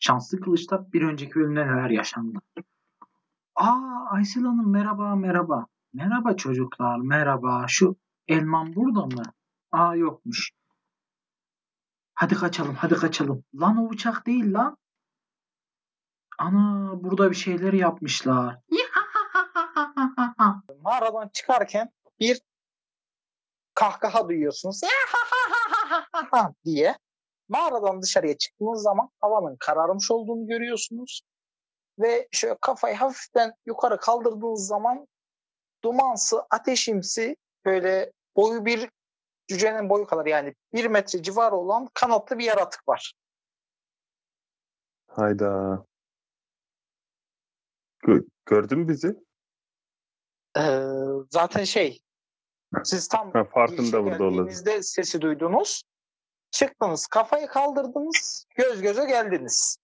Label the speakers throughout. Speaker 1: Şanslı Kılıç'ta bir önceki bölümde neler yaşandı? Aa Aysel Hanım merhaba merhaba. Merhaba çocuklar merhaba. Şu elmam burada mı? Aa yokmuş. Hadi kaçalım hadi kaçalım. Lan o bıçak değil lan. Ana burada bir şeyler yapmışlar.
Speaker 2: mağaradan çıkarken bir kahkaha duyuyorsunuz diye. Mağaradan dışarıya çıktığınız zaman havanın kararmış olduğunu görüyorsunuz. Ve şöyle kafayı hafiften yukarı kaldırdığınız zaman dumansı, ateşimsi böyle boyu bir cücenin boyu kadar yani bir metre civarı olan kanatlı bir yaratık var.
Speaker 3: Hayda. Gö- Gördün mü bizi?
Speaker 2: Ee, zaten şey siz tam
Speaker 3: Ha,
Speaker 2: girişe
Speaker 3: farkında burada olalım.
Speaker 2: geldiğinizde sesi duydunuz. Çıktınız, kafayı kaldırdınız, göz göze geldiniz.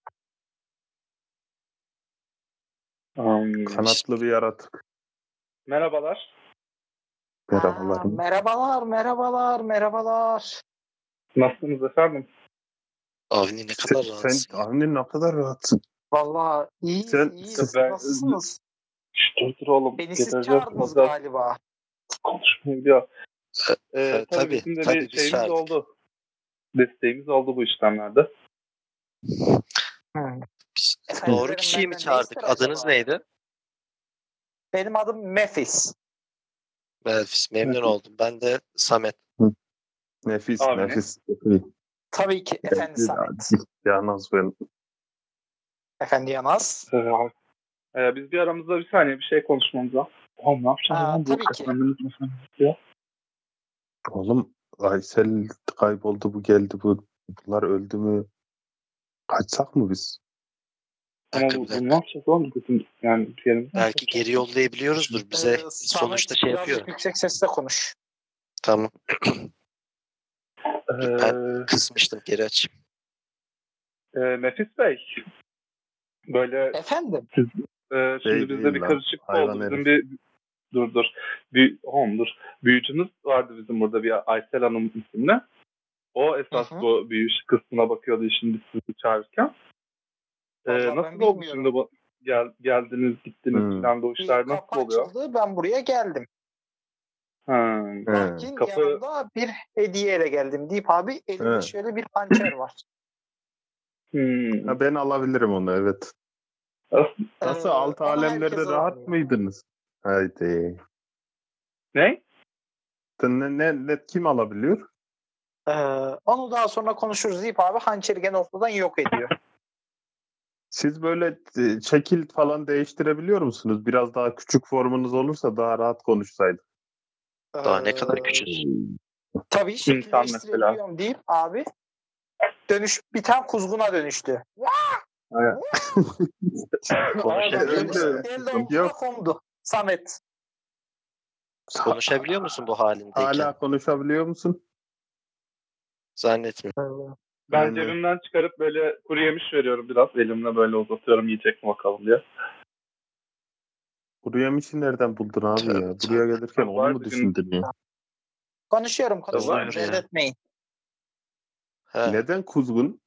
Speaker 3: Kanatlı bir yaratık.
Speaker 4: Merhabalar.
Speaker 3: Merhabalar.
Speaker 2: Aa, merhabalar, merhabalar, merhabalar.
Speaker 4: Nasılsınız efendim?
Speaker 5: Avni ne kadar
Speaker 3: Sen,
Speaker 5: rahatsız.
Speaker 3: sen annen ne kadar rahatsın.
Speaker 2: Vallahi iyi,
Speaker 3: Sen-
Speaker 2: iyi.
Speaker 4: ben-
Speaker 2: Nasılsınız?
Speaker 4: Şşt, dur dur oğlum.
Speaker 2: Beni siz
Speaker 4: Getireceğiz
Speaker 2: çağırdınız
Speaker 4: burada.
Speaker 2: galiba.
Speaker 4: Konuşmaya gidiyor. Ee,
Speaker 5: e,
Speaker 4: tabii,
Speaker 5: tabii,
Speaker 4: bizim de
Speaker 5: tabii,
Speaker 4: bir
Speaker 5: biz
Speaker 4: şeyimiz
Speaker 5: çağırdık.
Speaker 4: oldu. Desteğimiz oldu bu işlemlerde.
Speaker 5: Biz
Speaker 2: Efendim,
Speaker 5: doğru
Speaker 2: benim
Speaker 5: kişiyi mi
Speaker 2: benden ne
Speaker 5: çağırdık?
Speaker 2: ister
Speaker 5: Adınız
Speaker 2: acaba?
Speaker 5: neydi?
Speaker 2: Benim adım Mefis.
Speaker 5: Belfis. Memnun oldum. Ben de Samet.
Speaker 3: Nefis,
Speaker 4: Abi.
Speaker 3: nefis.
Speaker 2: Tabii ki efendi Samet.
Speaker 3: Yalnız ben.
Speaker 2: Efendi Yanaz.
Speaker 4: Ee, e, biz bir aramızda bir saniye bir şey konuşmamız lazım. Oğlum ne yapacağız
Speaker 2: Aa,
Speaker 4: lan? Bu
Speaker 2: tabii ki.
Speaker 4: kapanmamız mı?
Speaker 3: Oğlum Aysel kayboldu bu geldi bu. Bunlar öldü mü? Kaçsak mı biz?
Speaker 5: Bir
Speaker 4: Ama
Speaker 5: dakika, bir
Speaker 4: bu, bu
Speaker 5: dakika.
Speaker 4: ne yapacağız oğlum? Bizim, yani bir yerimiz
Speaker 5: Belki geri yollayabiliyoruzdur bize.
Speaker 2: Ee, Samet,
Speaker 5: sonuçta şey
Speaker 2: birazcık
Speaker 5: yapıyor.
Speaker 2: Yüksek sesle konuş.
Speaker 5: Tamam.
Speaker 4: Ee,
Speaker 5: Kısmıştım geri aç.
Speaker 4: e, Nefis Bey. Böyle
Speaker 2: Efendim.
Speaker 4: Ee, şimdi
Speaker 3: Şey
Speaker 4: bizde
Speaker 3: değil
Speaker 4: bir
Speaker 3: lan,
Speaker 4: karışıklık
Speaker 3: hayvan
Speaker 4: oldu. Bizim
Speaker 3: herif.
Speaker 4: bir dur dur. Bir oğlum dur. Büyücümüz vardı bizim burada bir Aysel Hanım isimli. O esas
Speaker 2: Hı hı.
Speaker 4: bu büyü kısmına bakıyordu şimdi sizi çağırırken. Ee,
Speaker 2: Vallahi ben
Speaker 4: nasıl oldu
Speaker 2: bilmiyorum.
Speaker 4: şimdi bu gel, geldiniz gittiniz
Speaker 3: Hmm.
Speaker 4: falan da o
Speaker 2: Bir
Speaker 4: işler
Speaker 2: kapı
Speaker 4: nasıl oluyor?
Speaker 2: açıldı, ben buraya geldim.
Speaker 4: Ha.
Speaker 3: He.
Speaker 2: Lakin
Speaker 4: Kapı-
Speaker 2: yanımda bir hediyeyle geldim deyip abi elinde
Speaker 3: He.
Speaker 2: şöyle bir hançer var.
Speaker 4: Hmm.
Speaker 3: Ha, ben alabilirim onu evet. Nasıl
Speaker 2: Ee,
Speaker 3: alt
Speaker 2: ama
Speaker 3: alemlerde
Speaker 2: herkes
Speaker 3: rahat
Speaker 2: alamıyor.
Speaker 3: mıydınız? Haydi.
Speaker 4: Ne?
Speaker 3: Ne, ne, ne, kim alabiliyor?
Speaker 2: Ee, onu daha sonra konuşuruz deyip abi hançeri gene ortadan yok ediyor.
Speaker 3: Siz böyle e, şekil falan değiştirebiliyor musunuz? Biraz daha küçük formunuz olursa daha rahat konuşsaydık.
Speaker 5: Daha ne
Speaker 2: Ee,
Speaker 5: kadar küçüğüz.
Speaker 2: Tabii
Speaker 4: İnsan mesela.
Speaker 2: şekilleştirebiliyorum deyip abi dönüş biten kuzguna dönüştü.
Speaker 4: Konuşabiliyor
Speaker 2: Adam
Speaker 4: musun?
Speaker 2: dönüştü, Elde omzuna
Speaker 3: Yok.
Speaker 2: kondu. Samet.
Speaker 5: Konuşabiliyor musun bu halindeyken?
Speaker 3: Hala konuşabiliyor musun?
Speaker 5: Zannetmiyorum.
Speaker 2: Ee,
Speaker 4: Ben
Speaker 3: Yani-
Speaker 4: cebimden çıkarıp böyle kuru yemiş veriyorum biraz. Elimle böyle uzatıyorum yiyecek mi bakalım diye.
Speaker 3: Buraya mişi nereden buldun abi
Speaker 5: Tövbe,
Speaker 3: ya? Buraya gelirken onu
Speaker 4: Vardı
Speaker 3: mu düşündün ya?
Speaker 2: Konuşuyorum konuşuyorum.
Speaker 5: Olabilir ya.
Speaker 2: Reddetmeyin.
Speaker 5: Ha,
Speaker 3: Neden kuzgun?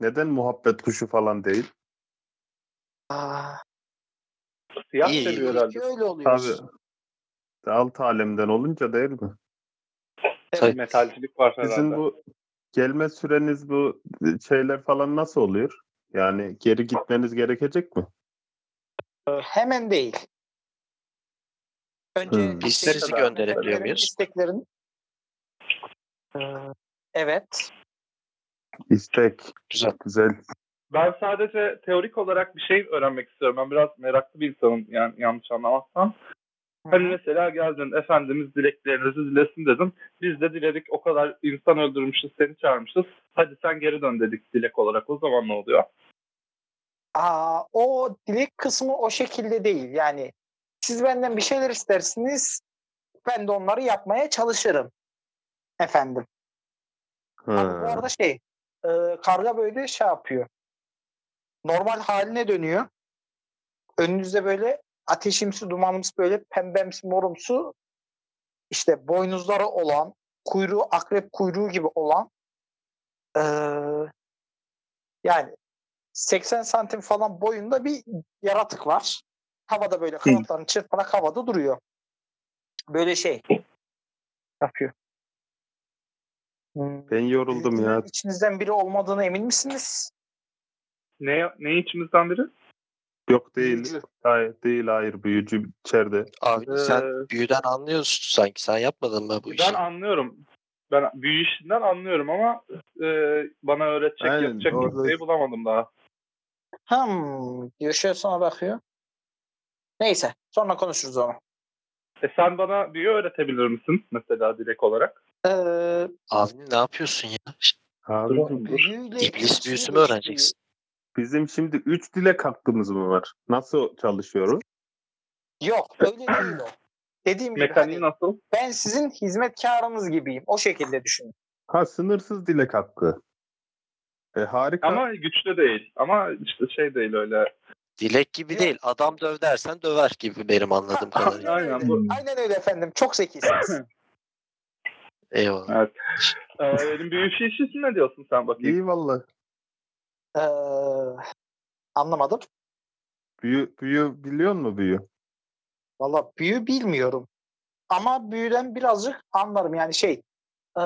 Speaker 3: Neden muhabbet kuşu falan değil?
Speaker 2: Aa,
Speaker 4: Siyah
Speaker 5: İyi, iyi.
Speaker 2: iyi
Speaker 4: seviyor
Speaker 2: ki
Speaker 4: herhalde.
Speaker 2: öyle oluyor.
Speaker 3: Tabii. Alt alemden olunca değil mi?
Speaker 2: Şey-
Speaker 5: tabii.
Speaker 4: Metalcilik var herhalde.
Speaker 3: Sizin bu gelme süreniz bu e, şeyler falan nasıl oluyor? Yani geri gitmeniz gerekecek mi?
Speaker 2: Ee, Hemen değil. Önce
Speaker 3: Hmm.
Speaker 5: Biz
Speaker 2: istek-
Speaker 5: sizi
Speaker 4: kadar?
Speaker 5: gönderebiliyor
Speaker 2: isteklerin-
Speaker 5: muyuz?
Speaker 2: isteklerin- Ee, Evet.
Speaker 3: İstek.
Speaker 5: Güzel.
Speaker 3: Güzel.
Speaker 4: Ben sadece teorik olarak bir şey öğrenmek istiyorum. Ben biraz meraklı bir insanım yani yanlış anlamazsan. Hani mesela geldin Efendimiz dileklerinizi dilesin dedim. Biz de diledik o kadar insan öldürmüşüz seni çağırmışız. Hadi sen geri dön dedik dilek olarak. O zaman ne oluyor?
Speaker 2: Aa, o dilek kısmı o şekilde değil. Yani siz benden bir şeyler istersiniz. Ben de onları yapmaya çalışırım. Efendim. Abi bu
Speaker 3: Ha.
Speaker 2: arada şey e, karga böyle şey yapıyor. Normal haline dönüyor. Önünüzde böyle ateşimsi, dumanımsı böyle pembemsi, morumsu işte boynuzları olan, kuyruğu akrep kuyruğu gibi olan e, yani 80 santim falan boyunda bir yaratık var. Havada böyle kanatlarını çırparak havada duruyor. Böyle şey yapıyor. Hmm.
Speaker 3: Ben yoruldum
Speaker 2: Bilginin
Speaker 3: ya.
Speaker 2: İçinizden biri olmadığına emin misiniz?
Speaker 4: Ne, ne içimizden biri?
Speaker 3: Yok değil.
Speaker 2: Büyücü.
Speaker 3: Hayır, değil hayır büyücü içeride.
Speaker 5: Abi sen
Speaker 4: Ee,
Speaker 5: büyüden anlıyorsun sanki. Sen yapmadın mı bu işi?
Speaker 4: ben anlıyorum. Ben büyü işinden anlıyorum ama e, bana öğretecek,
Speaker 3: Aynen,
Speaker 4: yapacak
Speaker 3: orada-
Speaker 4: kimseyi bulamadım daha.
Speaker 2: Hmm diyor şöyle sana bakıyor. Neyse sonra konuşuruz onu.
Speaker 4: E sen bana büyü öğretebilir misin mesela direkt olarak?
Speaker 2: Ee,
Speaker 5: Abi ne yapıyorsun ya? Ş-
Speaker 3: Abicim dur.
Speaker 2: büyüyle
Speaker 5: İblis
Speaker 2: ikisi
Speaker 5: büyüsü mü
Speaker 2: de
Speaker 5: öğreneceksin?
Speaker 3: Bizim şimdi 3 dilek hakkımız mı var? Nasıl çalışıyoruz?
Speaker 2: işliyor. Yok öyle değil o. Dediğim gibi
Speaker 4: Mekaniği
Speaker 2: hani,
Speaker 4: nasıl?
Speaker 2: ben sizin hizmetkarınız gibiyim. O şekilde düşünün.
Speaker 3: Ha sınırsız dilek hakkı. E, harika.
Speaker 4: Ama güçlü değil. Ama işte şey değil öyle.
Speaker 5: Dilek gibi
Speaker 2: Yok.
Speaker 5: değil. Adam döv dersen döver gibi benim anladığım
Speaker 2: Ha,
Speaker 5: kadarıyla.
Speaker 4: Aynen
Speaker 2: öyle.
Speaker 4: bu-
Speaker 2: Aynen öyle efendim. Çok zekisiniz.
Speaker 5: Eyvallah.
Speaker 4: Ee, benim büyü işi için ne diyorsun sen bakayım?
Speaker 3: İyi valla.
Speaker 2: ee, anlamadım.
Speaker 3: Büyü, büyü biliyor musun büyü?
Speaker 2: Valla büyü bilmiyorum. Ama büyüden birazcık anlarım. Yani şey ee,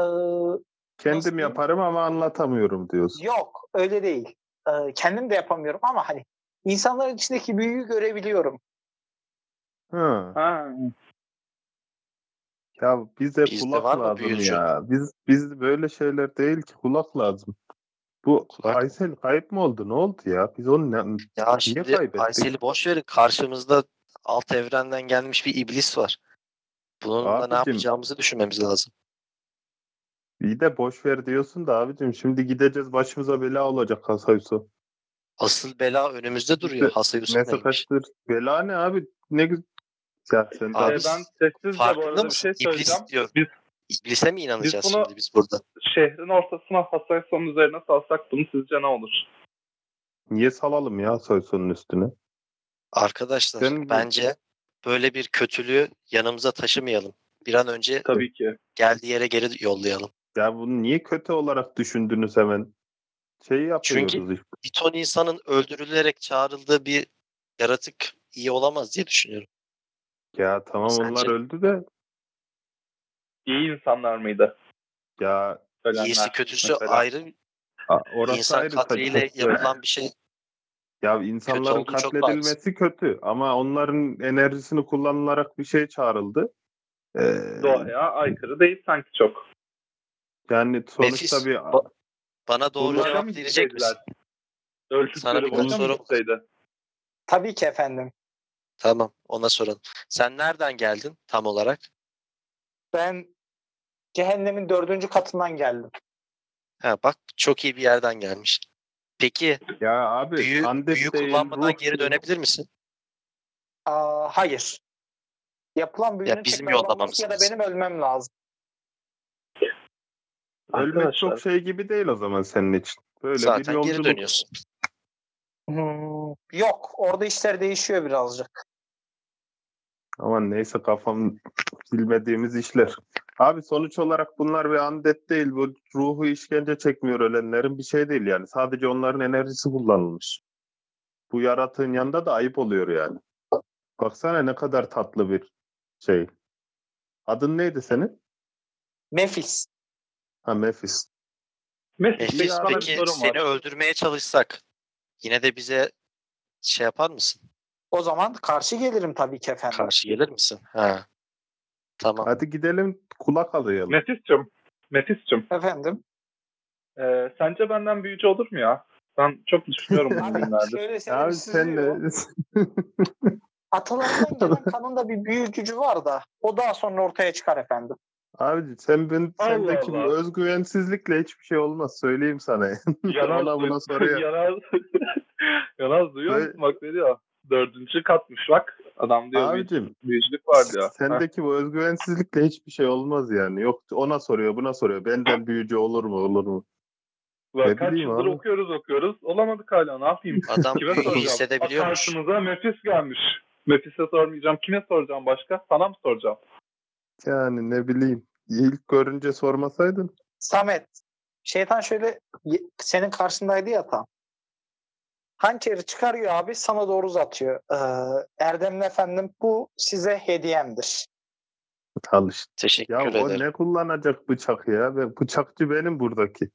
Speaker 3: Kendim
Speaker 2: Nasıl diyeyim?
Speaker 3: yaparım ama anlatamıyorum diyorsun.
Speaker 2: yok öyle değil. Ee, kendim de yapamıyorum ama hani insanların içindeki büyüyü görebiliyorum.
Speaker 3: Ha.
Speaker 4: Ha.
Speaker 3: Ya bize
Speaker 5: Bizde
Speaker 3: kulak
Speaker 5: var mı
Speaker 3: lazım
Speaker 5: büyücü?
Speaker 3: ya. Biz biz böyle şeyler değil ki kulak lazım. Bu
Speaker 5: Kulak-
Speaker 3: Aysel kayıp mı oldu? Ne oldu ya? Biz onu ne-
Speaker 5: Ya
Speaker 3: niye
Speaker 5: şimdi
Speaker 3: kaybettik?
Speaker 5: Aysel'i boş verin. Karşımızda alt evrenden gelmiş bir iblis var. Bununla ne
Speaker 3: Abicim.
Speaker 5: yapacağımızı düşünmemiz lazım.
Speaker 3: İyi de boş ver diyorsun da abicim şimdi gideceğiz başımıza bela olacak Hasayusu.
Speaker 5: Asıl bela önümüzde duruyor.
Speaker 3: İşte
Speaker 5: Hasa Yusuf
Speaker 3: Mesela
Speaker 5: neymiş?
Speaker 3: kaçtır. Bela ne abi? Ne güzel. Ya sen de
Speaker 4: Ee,
Speaker 5: Abi,
Speaker 4: ben sessizce bu
Speaker 5: Farkında
Speaker 4: arada bir şey
Speaker 5: mısın? İblis
Speaker 4: söyleyeceğim.
Speaker 5: diyor.
Speaker 4: Biz
Speaker 5: İblise mi inanacağız
Speaker 4: Biz bunu-
Speaker 5: şimdi biz burada?
Speaker 4: şehrin ortasına Hasanson'un üzerine salsak bunu sizce ne olur?
Speaker 3: niye salalım ya Hasayusu'nun üstüne?
Speaker 5: Arkadaşlar
Speaker 3: Ben-
Speaker 5: bence böyle bir kötülüğü yanımıza taşımayalım. Bir an önce
Speaker 4: Tabii ki.
Speaker 5: geldiği yere geri yollayalım.
Speaker 3: Ya bunu niye kötü olarak düşündünüz hemen? Şeyi yapıyoruz
Speaker 5: Çünkü-
Speaker 3: işte.
Speaker 5: Bir ton insanın öldürülerek çağrıldığı bir yaratık iyi olamaz diye düşünüyorum.
Speaker 3: Ya tamam
Speaker 5: Sence-
Speaker 3: onlar öldü de
Speaker 4: İyi insanlar mıydı?
Speaker 3: ya
Speaker 4: Ölenler.
Speaker 5: İyisi kötüsü
Speaker 4: mesela.
Speaker 5: ayrı.
Speaker 3: a- orası
Speaker 5: İnsan
Speaker 3: ayrı tabii.
Speaker 5: katliyle yapılan bir şey
Speaker 3: Ya insanların
Speaker 5: olduğu çok
Speaker 3: katledilmesi kötü ama onların enerjisini kullanılarak bir şey çağrıldı. Ee,
Speaker 4: Doğaya aykırı değil sanki çok.
Speaker 3: yani sonuçta
Speaker 5: Nefis.
Speaker 3: bir
Speaker 5: Ba- Bana doğru
Speaker 3: Bunlara
Speaker 5: cevap
Speaker 4: mı
Speaker 5: verecek misin?
Speaker 4: gitseydiler? Öldükleri
Speaker 5: Sana bir
Speaker 4: boşa mı
Speaker 5: soru-
Speaker 4: gitseydi?
Speaker 2: Tabii ki efendim.
Speaker 5: Tamam ona soralım. Sen nereden geldin tam olarak?
Speaker 2: Ben cehennemin dördüncü katından geldim.
Speaker 5: Ha, bak çok iyi bir yerden gelmiş. Peki
Speaker 3: Ya abi
Speaker 5: büyü,
Speaker 3: Andes
Speaker 5: büyü
Speaker 3: değil,
Speaker 5: kullanmadan
Speaker 3: ruh
Speaker 5: geri
Speaker 3: değil.
Speaker 5: dönebilir misin?
Speaker 2: Aa, hayır. Yapılan büyünün
Speaker 5: bizim yollamamız
Speaker 2: tekrarlanması ya da
Speaker 5: lazım.
Speaker 2: benim ölmem lazım.
Speaker 3: Ölmek
Speaker 4: Arkadaşlar,
Speaker 3: çok şey gibi değil o zaman senin için. Böyle bir
Speaker 5: Zaten geri
Speaker 3: yolculuk.
Speaker 5: dönüyorsun.
Speaker 2: Hmm, yok. Orada işler değişiyor birazcık.
Speaker 3: Aman neyse kafam bilmediğimiz işler. Abi sonuç olarak bunlar bir andet değil. Bu ruhu işkence çekmiyor ölenlerin bir şey değil yani. Sadece onların enerjisi kullanılmış. Bu yaratığın yanında da ayıp oluyor yani. Baksana ne kadar tatlı bir şey. Adın neydi senin?
Speaker 2: Nefis.
Speaker 3: Ha Mephis.
Speaker 4: Mesut
Speaker 5: Nefis,
Speaker 4: Bey sana bir
Speaker 5: peki
Speaker 4: sorum
Speaker 5: seni
Speaker 4: var.
Speaker 5: öldürmeye çalışsak yine de bize şey yapar mısın?
Speaker 2: O zaman karşı gelirim tabii ki efendim.
Speaker 5: Karşı gelir misin? Ha. Tamam.
Speaker 3: Hadi gidelim kulak alayalım.
Speaker 4: Metis'cim. Metis'cim.
Speaker 2: Efendim.
Speaker 4: E, sence benden büyücü olur mu ya? Ben çok düşünüyorum bu
Speaker 2: Abi
Speaker 4: günlerde.
Speaker 2: şöyle seni
Speaker 3: Abi
Speaker 2: bir
Speaker 3: sen
Speaker 2: süzüyor.
Speaker 3: de
Speaker 2: Atalarından gelen kanında bir büyütücü var da o daha sonra ortaya çıkar efendim.
Speaker 3: Abi sen ben,
Speaker 4: Allah
Speaker 3: sendeki bu
Speaker 4: Allah.
Speaker 3: özgüvensizlikle hiçbir şey olmaz söyleyeyim sana. Ona buna soruyor.
Speaker 4: Yaraz, Yaraz duyuyor
Speaker 3: Böyle-
Speaker 4: musun? Bak ne diyor? Dördüncü katmış bak. Adam diyor büyü-
Speaker 3: Abicim
Speaker 4: büyücülük var diyor. Heh.
Speaker 3: sendeki bu özgüvensizlikle hiçbir şey olmaz yani. Yok ona soruyor buna soruyor. Benden büyücü olur mu olur mu?
Speaker 4: Ulan
Speaker 3: ne
Speaker 4: kaç
Speaker 3: bileyim
Speaker 4: yıldır
Speaker 3: abi.
Speaker 4: okuyoruz okuyoruz. Olamadık hala ne yapayım?
Speaker 5: Adam
Speaker 4: Kime
Speaker 5: büyüyü
Speaker 4: soracağım? Aa,
Speaker 5: hissedebiliyormuş.
Speaker 4: Karşımıza Mefis gelmiş. Mefis'e sormayacağım. Kime soracağım başka? Sana mı soracağım?
Speaker 3: Yani ne bileyim. İlk görünce sormasaydın.
Speaker 2: Samet. Şeytan şöyle ye- senin karşındaydı ya tam. Hançeri çıkarıyor abi sana doğru uzatıyor. Ee, Erdem'in efendim bu size hediyemdir.
Speaker 3: Al işte.
Speaker 5: Teşekkür
Speaker 3: Ya o
Speaker 5: ederim.
Speaker 3: ne kullanacak bıçak ya? Ben- Bıçakçı benim buradaki.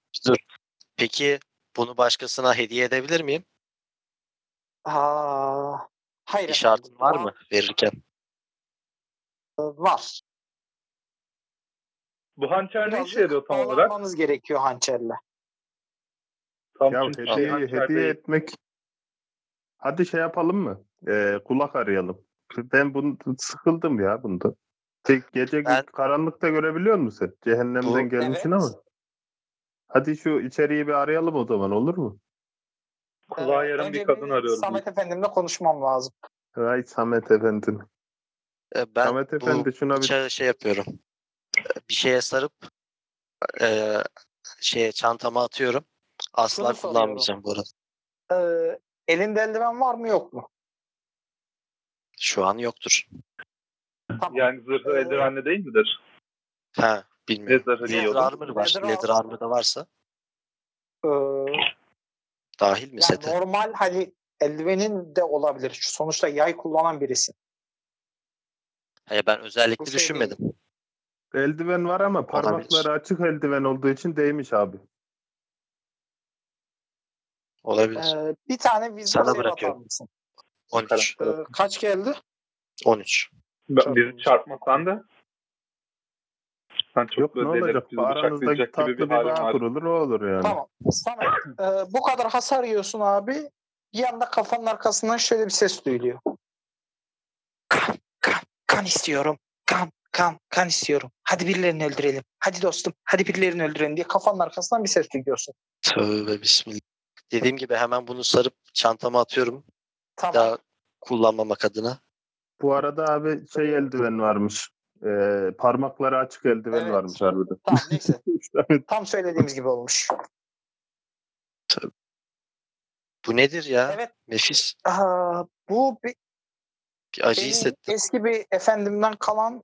Speaker 5: Peki bunu başkasına hediye edebilir miyim?
Speaker 2: Aa, hayır efendim, e,
Speaker 5: Bir şartın var mı verirken?
Speaker 2: Var.
Speaker 4: Bu hançer ne işe
Speaker 2: Birazcık
Speaker 4: yarıyor tam olarak?
Speaker 2: bağlanmanız gerekiyor hançerle.
Speaker 4: Tam
Speaker 3: Ya
Speaker 4: çünkü
Speaker 3: hediyeyi
Speaker 4: hançer
Speaker 3: hediye
Speaker 4: değil.
Speaker 3: etmek. Hadi şey yapalım mı? Ee, kulak arayalım. Ben bunu sıkıldım ya bundan. Şey, gece
Speaker 5: Ben-
Speaker 3: karanlıkta görebiliyor musun sen? Cehennemden
Speaker 5: Bu-
Speaker 3: gelmişsin
Speaker 2: Evet.
Speaker 3: ama. Hadi şu içeriği bir arayalım o zaman olur mu?
Speaker 4: Kulağa
Speaker 2: Ee,
Speaker 4: yarım
Speaker 2: önce
Speaker 4: bir kadın arıyorum.
Speaker 2: Samet Efendi'mle konuşmam lazım.
Speaker 3: Vay Samet Efendi.
Speaker 5: E, Ben
Speaker 3: Samet Efendi
Speaker 5: bu
Speaker 3: şuna bir
Speaker 5: bıçağı şey yapıyorum. E, Bir şeye sarıp e, şeye çantama atıyorum. Asla
Speaker 2: Şunu soruyorum.
Speaker 5: kullanmayacağım bu arada.
Speaker 2: Ee, elinde eldiven var mı yok mu?
Speaker 5: Şu an yoktur.
Speaker 2: Tamam.
Speaker 4: Yani zırhı
Speaker 2: Ee,
Speaker 4: eldivenle değil midir?
Speaker 5: Ha
Speaker 4: Ne
Speaker 5: bilmiyorum.
Speaker 4: zırhı
Speaker 5: Leather
Speaker 4: giyiyordu?
Speaker 5: armor var.
Speaker 2: Leather
Speaker 5: Leather
Speaker 2: armor.
Speaker 5: armor da varsa
Speaker 2: Ee,
Speaker 5: dahil mi
Speaker 2: yani
Speaker 5: sete?
Speaker 2: normal hani eldivenin de olabilir. Şu sonuçta yay kullanan birisin.
Speaker 5: Hayır ben özellikle
Speaker 2: Bu şey
Speaker 5: düşünmedim.
Speaker 3: eldiven var ama parmakları açık eldiven olduğu için değmiş abi.
Speaker 5: Olabilir.
Speaker 2: Ee, bir tane vizyon
Speaker 5: Sana
Speaker 2: save atar
Speaker 5: bırakıyorum.
Speaker 2: mısın?
Speaker 5: 13.
Speaker 2: Ee, kaç geldi?
Speaker 5: 13.
Speaker 4: Ben, bizi çarpmasan da. Sen çok
Speaker 3: Yok ne
Speaker 4: böyle delirip
Speaker 3: olacak?
Speaker 4: bizi
Speaker 3: Aranızda
Speaker 4: bıçaklayacak
Speaker 3: tatlı
Speaker 4: gibi
Speaker 3: bir
Speaker 4: bir halin
Speaker 3: bağ
Speaker 4: var.
Speaker 3: kurulur o olur yani.
Speaker 2: Tamam. Sana e, bu kadar hasar yiyorsun abi. Bir anda kafanın arkasından şöyle bir ses duyuluyor. Kan, kan, kan istiyorum. Kan, kan, kan istiyorum. Hadi birilerini öldürelim. Hadi dostum, hadi birilerini öldürelim diye kafanın arkasından bir ses duyuyorsun.
Speaker 5: Tövbe bismillah. Dediğim gibi hemen bunu sarıp çantama atıyorum.
Speaker 2: Tamam.
Speaker 5: Daha kullanmamak adına.
Speaker 3: Bu arada abi şey eldiven varmış. Ee, parmakları açık eldiven
Speaker 2: Evet.
Speaker 3: varmış harbiden.
Speaker 2: Tamam neyse. Tam söylediğimiz gibi olmuş.
Speaker 5: Bu nedir ya?
Speaker 2: Evet.
Speaker 5: Nefis.
Speaker 2: Aa, bu bir,
Speaker 5: Bir acı
Speaker 2: benim
Speaker 5: hissettim.
Speaker 2: Şey, eski bir efendimden kalan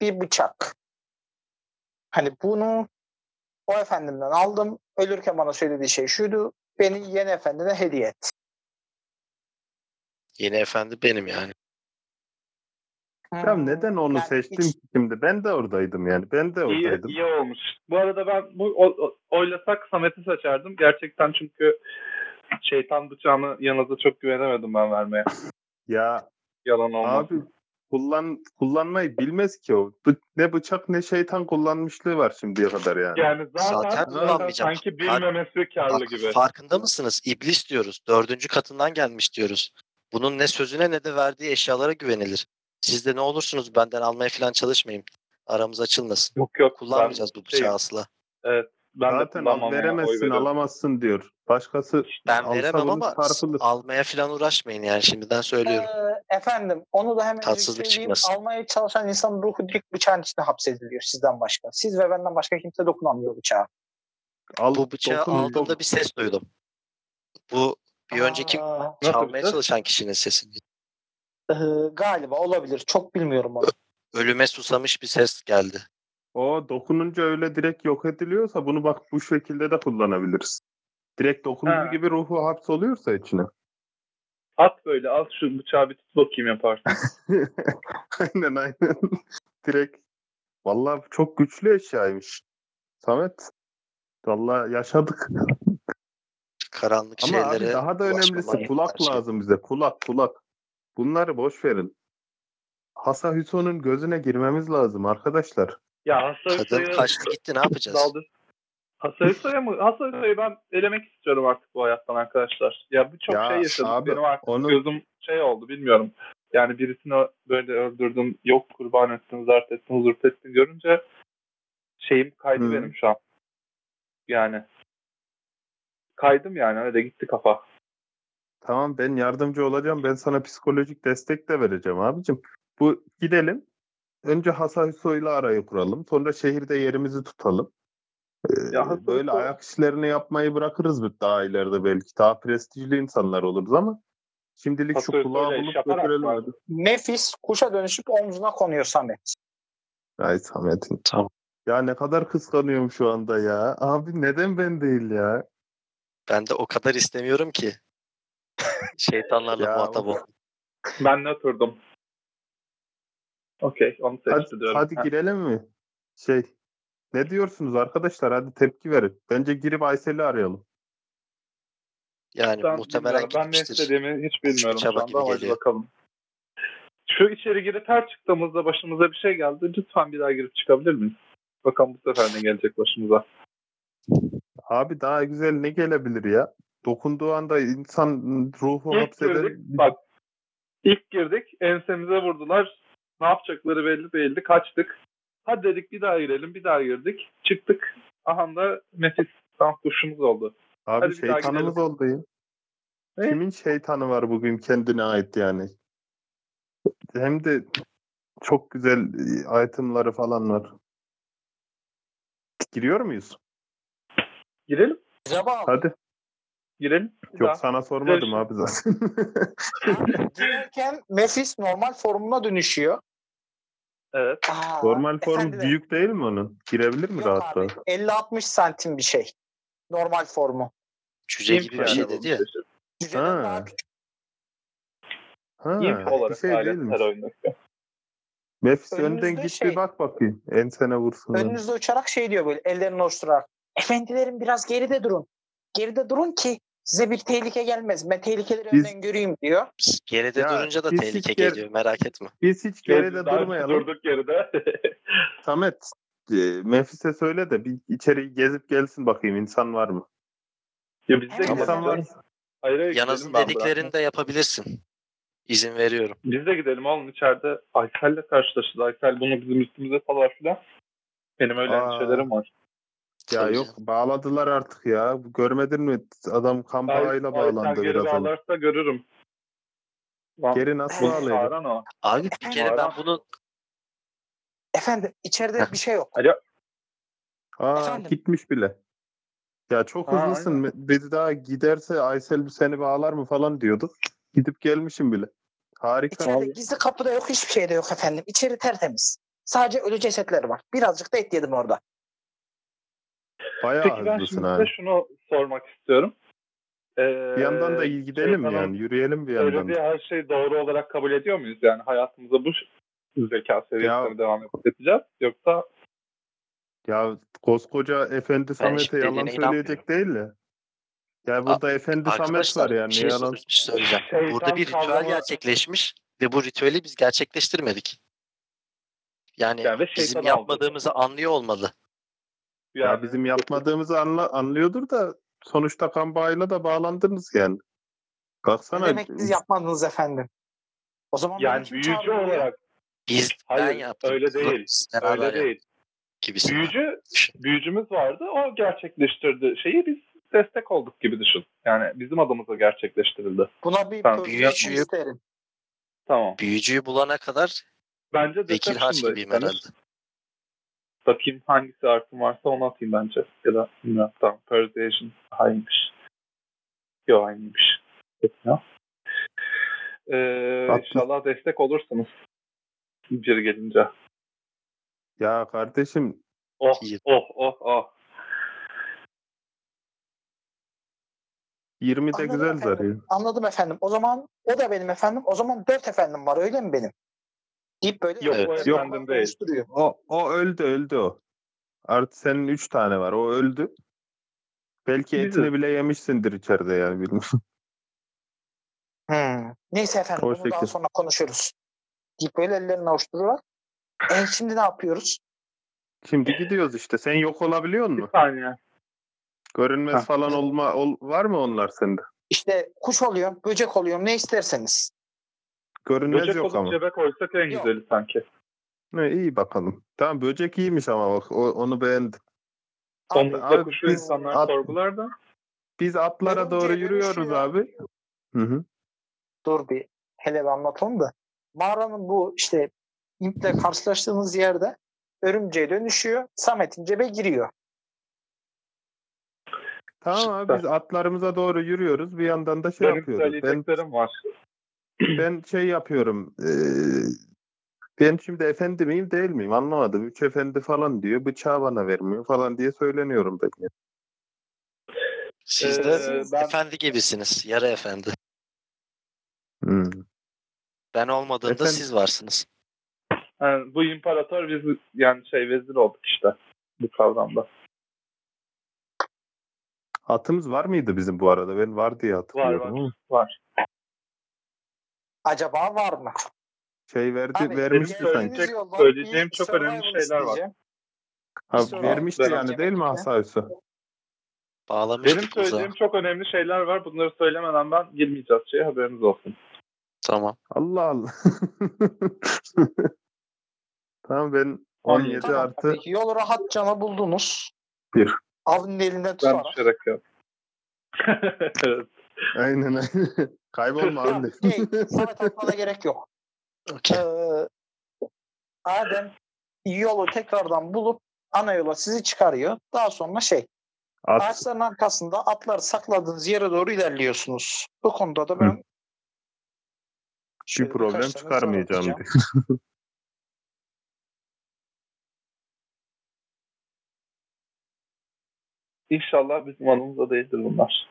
Speaker 2: bir bıçak. Hani bunu o efendimden aldım. Ölürken bana söylediği şey şuydu. Beni yeni efendine hediye et.
Speaker 5: Yeni efendi benim yani.
Speaker 3: Ya neden onu
Speaker 2: Yani
Speaker 3: seçtim
Speaker 2: hiç-
Speaker 3: ki şimdi? Ben de oradaydım yani. Ben de
Speaker 4: İyi,
Speaker 3: oradaydım.
Speaker 4: iyi olmuş. Bu arada ben bu o- o- oylasak Samet'i seçerdim. Gerçekten çünkü şeytan bıçağını yanınıza çok güvenemedim ben vermeye.
Speaker 3: Ya
Speaker 4: Yalan olmaz.
Speaker 3: abi kullan kullanmayı bilmez ki o. Bı- ne bıçak ne şeytan kullanmışlığı var şimdiye kadar yani.
Speaker 4: yani zaten,
Speaker 5: Zaten
Speaker 4: zaten
Speaker 5: kullanmayacağım.
Speaker 4: sanki bilmemesi karlı
Speaker 5: Bak,
Speaker 4: gibi.
Speaker 5: farkında mısınız? İblis diyoruz. Dördüncü katından gelmiş diyoruz. Bunun ne sözüne ne de verdiği eşyalara güvenilir. Siz de ne olursunuz benden almaya falan çalışmayın. Aramız açılmasın.
Speaker 4: Yok yok.
Speaker 5: Kullanmayacağız bu bıçağı
Speaker 4: şeyim.
Speaker 5: asla.
Speaker 4: Ben, ben
Speaker 3: Zaten
Speaker 4: de
Speaker 3: al
Speaker 4: kullanmam ona, oy
Speaker 3: veremezsin
Speaker 4: veriyorum.
Speaker 3: alamazsın diyor. Başkası
Speaker 5: Ben
Speaker 3: alsa
Speaker 5: veremem
Speaker 3: bunu
Speaker 5: ama
Speaker 3: tartılır.
Speaker 5: almaya falan uğraşmayın yani şimdiden söylüyorum.
Speaker 2: Ee, efendim onu da hemen
Speaker 5: Tatsızlık
Speaker 2: söyleyeyim.
Speaker 5: çıkmasın.
Speaker 2: Almaya çalışan insanın ruhu direkt bıçağın içinde hapsediliyor sizden başka. Siz ve benden başka kimse dokunamıyor bıçağa.
Speaker 3: Al,
Speaker 5: Bu bıçağı
Speaker 3: dokun, dokun.
Speaker 5: aldığımda bir ses duydum. Bu bir önceki
Speaker 2: Aa,
Speaker 4: Nasıl bir
Speaker 5: çalmaya
Speaker 4: ses?
Speaker 5: çalışan kişinin sesi.
Speaker 2: e, galiba olabilir. Çok bilmiyorum onu.
Speaker 5: Ölüme susamış bir ses geldi.
Speaker 3: O dokununca öyle direkt yok ediliyorsa bunu bak bu şekilde de kullanabiliriz. Direkt dokunduğu
Speaker 4: Ha.
Speaker 3: gibi ruhu hapsoluyorsa içine.
Speaker 4: At böyle al şu bıçağı bir tut bakayım yaparsın.
Speaker 3: aynen aynen. Direkt. Vallahi çok güçlü eşyaymış. Samet. Vallahi yaşadık.
Speaker 5: Karanlık
Speaker 3: Ama
Speaker 5: şeylere
Speaker 3: abi daha da
Speaker 5: ulaşmaman
Speaker 3: önemlisi
Speaker 5: gereken
Speaker 3: kulak
Speaker 5: şey.
Speaker 3: lazım bize. Kulak kulak. Bunları boş verin. Hasa Hüso'nun gözüne girmemiz lazım arkadaşlar.
Speaker 4: ya Hasan
Speaker 5: Kadın
Speaker 4: Hüsoy'a
Speaker 5: kaçtı gitti ne yapacağız?
Speaker 4: daldı. Hasan Hüsoy'a mı? Hasan Hüsoy'u ben elemek istiyorum artık bu hayattan arkadaşlar. Ya birçok
Speaker 3: Ya
Speaker 4: şey yaşadım.
Speaker 3: abi,
Speaker 4: Benim artık
Speaker 3: onu-
Speaker 4: gözüm şey oldu bilmiyorum. Yani birisini ö- böyle öldürdüm. Yok kurban ettim, zart ettim, huzur ettim görünce şeyim kaydı
Speaker 3: Hı.
Speaker 4: benim şu an. Yani kaydım yani öyle gitti kafa.
Speaker 3: Tamam ben yardımcı olacağım. Ben sana psikolojik destek de vereceğim abicim. Bu gidelim. Önce Hasan Hüsoy'la arayı kuralım. Sonra şehirde yerimizi tutalım. Ee,
Speaker 4: Ya Hasan
Speaker 3: böyle
Speaker 4: Hüsoy-
Speaker 3: ayak işlerini yapmayı bırakırız bir daha ileride belki. Daha prestijli insanlar oluruz ama şimdilik şu
Speaker 4: Hasan
Speaker 3: kulağı
Speaker 4: Hüsoy'la iş
Speaker 3: bulup
Speaker 4: yaparak
Speaker 3: götürelim.
Speaker 4: mı?
Speaker 3: hadi.
Speaker 2: Nefis kuşa dönüşüp omzuna konuyor Samet.
Speaker 3: Ay Samet'in.
Speaker 5: Tamam.
Speaker 3: Ya ne kadar kıskanıyorum şu anda ya. Abi neden ben değil ya?
Speaker 5: Ben de o kadar istemiyorum ki. Şeytanlarla
Speaker 3: Ya,
Speaker 5: muhatap
Speaker 3: o-
Speaker 5: ol.
Speaker 4: Ben ne oturdum? Okey onu
Speaker 3: Hadi,
Speaker 4: seçti diyorum.
Speaker 3: hadi
Speaker 4: Ha,
Speaker 3: girelim mi? Şey, ne diyorsunuz arkadaşlar? Hadi tepki verin. Bence girip Aysel'i arayalım.
Speaker 5: Yani
Speaker 4: ben
Speaker 5: muhtemelen
Speaker 4: bilmiyorum. Ben ne
Speaker 5: gitmiştir.
Speaker 4: istediğimi hiç bilmiyorum
Speaker 5: Çaba
Speaker 4: şu
Speaker 5: gibi
Speaker 4: anda ama hadi
Speaker 5: geliyor.
Speaker 4: bakalım. Şu içeri girip her çıktığımızda başımıza bir şey geldi. Lütfen bir daha girip çıkabilir miyiz? Bakalım bu sefer ne gelecek başımıza.
Speaker 3: Abi daha güzel ne gelebilir ya? Dokunduğu anda insan ruhu
Speaker 4: İlk girdik
Speaker 3: hapseden...
Speaker 4: bak. İlk girdik ensemize vurdular. Ne yapacakları belli değildi. Kaçtık. Hadi dedik bir daha girelim. Bir daha girdik. Çıktık. Aha da nefis dans duşumuz oldu.
Speaker 3: Abi
Speaker 4: Hadi bir daha
Speaker 3: şeytanımız oldu ya.
Speaker 4: Ne?
Speaker 3: Kimin şeytanı var bugün kendine ait yani? Hem de çok güzel e, itemları falan var. Giriyor muyuz?
Speaker 4: Girelim.
Speaker 2: Acaba
Speaker 3: Hadi.
Speaker 4: Girelim. Bir
Speaker 3: Yok
Speaker 4: daha.
Speaker 3: sana sormadım
Speaker 4: Görüşürüz.
Speaker 3: abi zaten.
Speaker 2: girerken Mefis normal formuna dönüşüyor.
Speaker 4: Evet.
Speaker 2: Aa,
Speaker 3: Normal formu
Speaker 2: efendiler,
Speaker 3: büyük değil mi onun? Girebilir mi
Speaker 2: Yok
Speaker 3: rahatla?
Speaker 2: abi 50-60 santim bir şey. Normal formu.
Speaker 5: Cüce gibi bir
Speaker 4: yani
Speaker 5: şey
Speaker 4: bu
Speaker 5: dedi ya.
Speaker 4: muhteşem.
Speaker 2: Cüceden
Speaker 3: Ha.
Speaker 2: daha küçük.
Speaker 3: Ha,
Speaker 4: İmp
Speaker 3: bir
Speaker 4: olarak
Speaker 3: şey
Speaker 4: hala
Speaker 3: değilmiş.
Speaker 4: her oyundaki.
Speaker 3: Mefis
Speaker 2: Önünüzde
Speaker 3: önden git
Speaker 2: şey-
Speaker 3: bir bak bakayım. Ensene vursun. lan.
Speaker 2: Önünüzde uçarak şey diyor böyle ellerini oluşturarak. Efendilerim biraz geride durun. Geride durun ki size bir tehlike gelmez. Ben tehlikeleri
Speaker 3: Biz-
Speaker 2: önden göreyim diyor.
Speaker 5: Psst, Geride
Speaker 3: Ya,
Speaker 5: durunca da
Speaker 3: biz
Speaker 5: tehlike
Speaker 3: hiç ger-
Speaker 5: geliyor merak etme.
Speaker 3: Biz hiç geride
Speaker 4: Biz daha önce
Speaker 3: durmayalım.
Speaker 4: Durduk geride.
Speaker 3: Samet e, Mefis'e söyle de bir içeri gezip gelsin bakayım insan var mı?
Speaker 4: ya biz de
Speaker 2: Hemen
Speaker 4: gidelim.
Speaker 3: İnsan var
Speaker 2: efendim.
Speaker 3: mı?
Speaker 4: Hayır, hayır,
Speaker 5: Yanaz'ın
Speaker 4: gidelim ben
Speaker 5: dediklerini
Speaker 4: bırakmam.
Speaker 5: de yapabilirsin. İzin veriyorum.
Speaker 4: Biz de gidelim oğlum içeride Aysel'le karşılaştık. Aysel bunu bizim üstümüze salar filan. Benim öyle
Speaker 3: Aa.
Speaker 4: endişelerim var.
Speaker 3: Ya
Speaker 5: Tabii
Speaker 3: yok
Speaker 5: canım.
Speaker 3: bağladılar artık ya. Görmedin mi? Adam kamp
Speaker 4: Ay-
Speaker 3: ağıyla
Speaker 4: Aysel
Speaker 3: bağlandı
Speaker 4: geri
Speaker 3: biraz önce.
Speaker 4: bağlarsa görürüm. Lan,
Speaker 3: Geri nasıl
Speaker 4: bunu
Speaker 3: bağlayacak?
Speaker 4: çağıran o.
Speaker 5: Abi bir kere ben
Speaker 4: Bayram.
Speaker 5: bunu
Speaker 2: Efendim içeride bir şey yok.
Speaker 3: Aa
Speaker 2: Efendim?
Speaker 3: gitmiş bile. Ya çok
Speaker 4: Ha,
Speaker 3: hızlısın. Bir daha giderse Aysel seni bağlar mı falan diyorduk. Gidip gelmişim bile. Harika.
Speaker 2: İçeride gizli kapıda yok hiçbir şey de yok efendim. İçeri tertemiz. Sadece ölü cesetler var. Birazcık da et yedim orada.
Speaker 3: Bayağı
Speaker 4: Peki ben
Speaker 3: hızlısın
Speaker 4: şimdi
Speaker 3: abi.
Speaker 4: size şunu sormak istiyorum. Ee,
Speaker 3: Bir yandan da gidelim
Speaker 4: şeytanın
Speaker 3: yani. Yürüyelim bir yandan.
Speaker 4: Söylediği
Speaker 3: da.
Speaker 4: her şeyi doğru olarak kabul ediyor muyuz? Yani hayatımıza bu zeka seviyesine
Speaker 3: Ya-
Speaker 4: mi devam edeceğiz. Yoksa
Speaker 3: Ya koskoca Efendi Samet'e
Speaker 5: şimdi
Speaker 3: yalan
Speaker 5: dediğine
Speaker 3: söyleyecek değil ya. Ya burada Efendi Samet var
Speaker 5: arkadaşlar
Speaker 3: yani.
Speaker 5: bir şey
Speaker 3: yalan.
Speaker 5: sor- bir şey söyleyeceğim.
Speaker 4: şeytan
Speaker 5: Burada bir ritüel
Speaker 4: kavramı-
Speaker 5: gerçekleşmiş ve bu ritüeli biz gerçekleştirmedik. Yani
Speaker 4: Yani ve
Speaker 5: bizim
Speaker 4: şeytan
Speaker 5: yapmadığımızı anlıyor olmalı.
Speaker 4: yani,
Speaker 3: Ya bizim yapmadığımızı anla, anlıyordur da sonuçta kan bağıyla da bağlandınız yani.
Speaker 2: Ne
Speaker 3: Baksana
Speaker 2: demek siz yapmadınız efendim? O zaman beni
Speaker 4: yani
Speaker 2: kim
Speaker 4: büyücü
Speaker 2: çağırıyor buraya?
Speaker 4: olarak
Speaker 5: Biz
Speaker 4: Hayır,
Speaker 5: ben yaptım.
Speaker 4: öyle
Speaker 5: Kızım,
Speaker 4: değil.
Speaker 5: siz
Speaker 4: öyle
Speaker 5: beraber
Speaker 4: değil.
Speaker 5: Gibisin.
Speaker 4: Büyücü büyücümüz vardı. O gerçekleştirdi şeyi biz destek olduk gibi düşün. Yani bizim adımıza gerçekleştirildi.
Speaker 2: Buna bir
Speaker 4: Ben
Speaker 2: pörtü
Speaker 5: büyücüyüm.
Speaker 2: isterim.
Speaker 4: Tamam.
Speaker 5: Büyücüyü bulana kadar
Speaker 4: Bence
Speaker 5: vekil harç
Speaker 4: Deception'da
Speaker 5: gibiyim
Speaker 4: istenir.
Speaker 5: herhalde.
Speaker 4: Bakayım hangisi artım varsa onu atayım bence. Ya da bilmiyorum. Tamam. Persuasion aynıymış. Yok aynıymış. Ya. Ee,
Speaker 3: Atlı.
Speaker 4: inşallah destek olursunuz. Biri gelince.
Speaker 3: ya kardeşim
Speaker 4: Oh
Speaker 5: İyi.
Speaker 4: oh oh oh.
Speaker 3: 20 de
Speaker 2: Anladım
Speaker 3: güzel
Speaker 2: efendim.
Speaker 3: zarıyor.
Speaker 2: Anladım efendim. O zaman o da benim efendim. O zaman dört efendim var öyle mi benim? Deyip böyle
Speaker 4: Yok
Speaker 5: Evet.
Speaker 4: o
Speaker 2: Yok,
Speaker 4: efendim
Speaker 2: yok.
Speaker 4: değil.
Speaker 2: konuşturuyor.
Speaker 3: O, o öldü öldü o. Artı senin 3 tane var. O öldü. Belki
Speaker 4: Biziz.
Speaker 3: etini bile yemişsindir içeride yani bilmiyorum.
Speaker 2: Hmm. Neyse efendim
Speaker 3: O
Speaker 2: bunu daha
Speaker 3: şekil.
Speaker 2: sonra konuşuruz. Deyip böyle ellerini avuşturarak. E şimdi ne yapıyoruz?
Speaker 3: Şimdi gidiyoruz işte. Sen yok olabiliyor
Speaker 4: Bir
Speaker 3: musun?
Speaker 4: saniye.
Speaker 3: Görünmez
Speaker 4: Ha.
Speaker 3: falan olma ol, var mı onlar sende?
Speaker 2: İşte kuş oluyorum, böcek oluyorum ne isterseniz.
Speaker 3: Görünmez
Speaker 4: Böcek
Speaker 3: yok
Speaker 4: olup
Speaker 3: ama.
Speaker 4: cebe koysak en
Speaker 2: Yok.
Speaker 4: güzeli sanki.
Speaker 3: Ne, iyi bakalım. Tamam böcek iyiymiş ama bak o- onu beğendim.
Speaker 4: Omuzda
Speaker 3: abi
Speaker 4: kuşu
Speaker 3: biz
Speaker 4: insanlar
Speaker 3: at-
Speaker 4: sorgular da.
Speaker 3: Biz atlara
Speaker 2: Örümceğe
Speaker 3: doğru
Speaker 2: dönüşüyor.
Speaker 3: yürüyoruz abi. Hı hı.
Speaker 2: Dur bir hele bir anlatalım da. Mağaranın bu işte imple karşılaştığınız yerde örümceğe dönüşüyor. Samet'in cebe giriyor.
Speaker 3: Tamam abi biz atlarımıza doğru yürüyoruz. Bir yandan da şey
Speaker 4: Benim
Speaker 3: yapıyoruz. Ben
Speaker 4: söyleyeceklerim var.
Speaker 3: ben şey yapıyorum. eee, ben şimdi efendi miyim değil miyim anlamadım. Üç efendi falan diyor. Bıçağı bana vermiyor falan diye söyleniyorum ben. ya.
Speaker 5: Siz
Speaker 4: Ee,
Speaker 5: de
Speaker 4: ben-
Speaker 5: efendi gibisiniz. Yarı efendi.
Speaker 3: Hmm.
Speaker 5: Ben olmadığımda
Speaker 3: Efendim?
Speaker 5: siz varsınız.
Speaker 4: Yani bu imparator biz yani şey vezir olduk işte bu kavramda.
Speaker 3: Atımız var mıydı bizim bu arada? Ben var diye hatırlıyorum.
Speaker 4: var.
Speaker 3: ama
Speaker 2: Acaba var mı?
Speaker 3: Şey verdi,
Speaker 2: Abi,
Speaker 3: vermişti
Speaker 4: benim
Speaker 3: sanki.
Speaker 2: geldiğimiz yoldan
Speaker 4: söyleyeceğim
Speaker 2: bir
Speaker 4: çok önemli
Speaker 2: survival
Speaker 4: şeyler var.
Speaker 2: isteyeceğim.
Speaker 3: Ha,
Speaker 2: soru
Speaker 3: vermişti
Speaker 4: aldım.
Speaker 3: yani değil mi Hasan Üssü?
Speaker 5: Bağlamıştık
Speaker 4: Benim
Speaker 5: uzağa.
Speaker 4: söyleyeceğim çok önemli şeyler var. Bunları söylemeden ben girmeyeceğiz şeye haberiniz olsun.
Speaker 5: Tamam.
Speaker 3: Allah Allah. tamam ben
Speaker 4: Tamam,
Speaker 3: 17
Speaker 2: Tamam.
Speaker 3: artı
Speaker 2: Peki yol rahat cana buldunuz.
Speaker 3: Bir.
Speaker 2: Avni'nin elinden
Speaker 4: Ben
Speaker 2: tutarak.
Speaker 4: düşerek yok.
Speaker 3: aynen aynen. Kaybolma
Speaker 2: Ya,
Speaker 3: abi.
Speaker 2: değil. Samet atmana gerek yok.
Speaker 5: Okey.
Speaker 2: Ee, Adem yolu tekrardan bulup ana yola sizi çıkarıyor. Daha sonra şey
Speaker 3: At.
Speaker 2: ağaçların arkasında atları sakladığınız yere doğru ilerliyorsunuz. Bu konuda da ben şöyle
Speaker 3: Bir
Speaker 2: birkaç
Speaker 3: problem
Speaker 2: tane soru
Speaker 3: çıkarmayacağım
Speaker 2: atacağım.
Speaker 3: diye.
Speaker 4: İnşallah bizim anımızda değildir bunlar.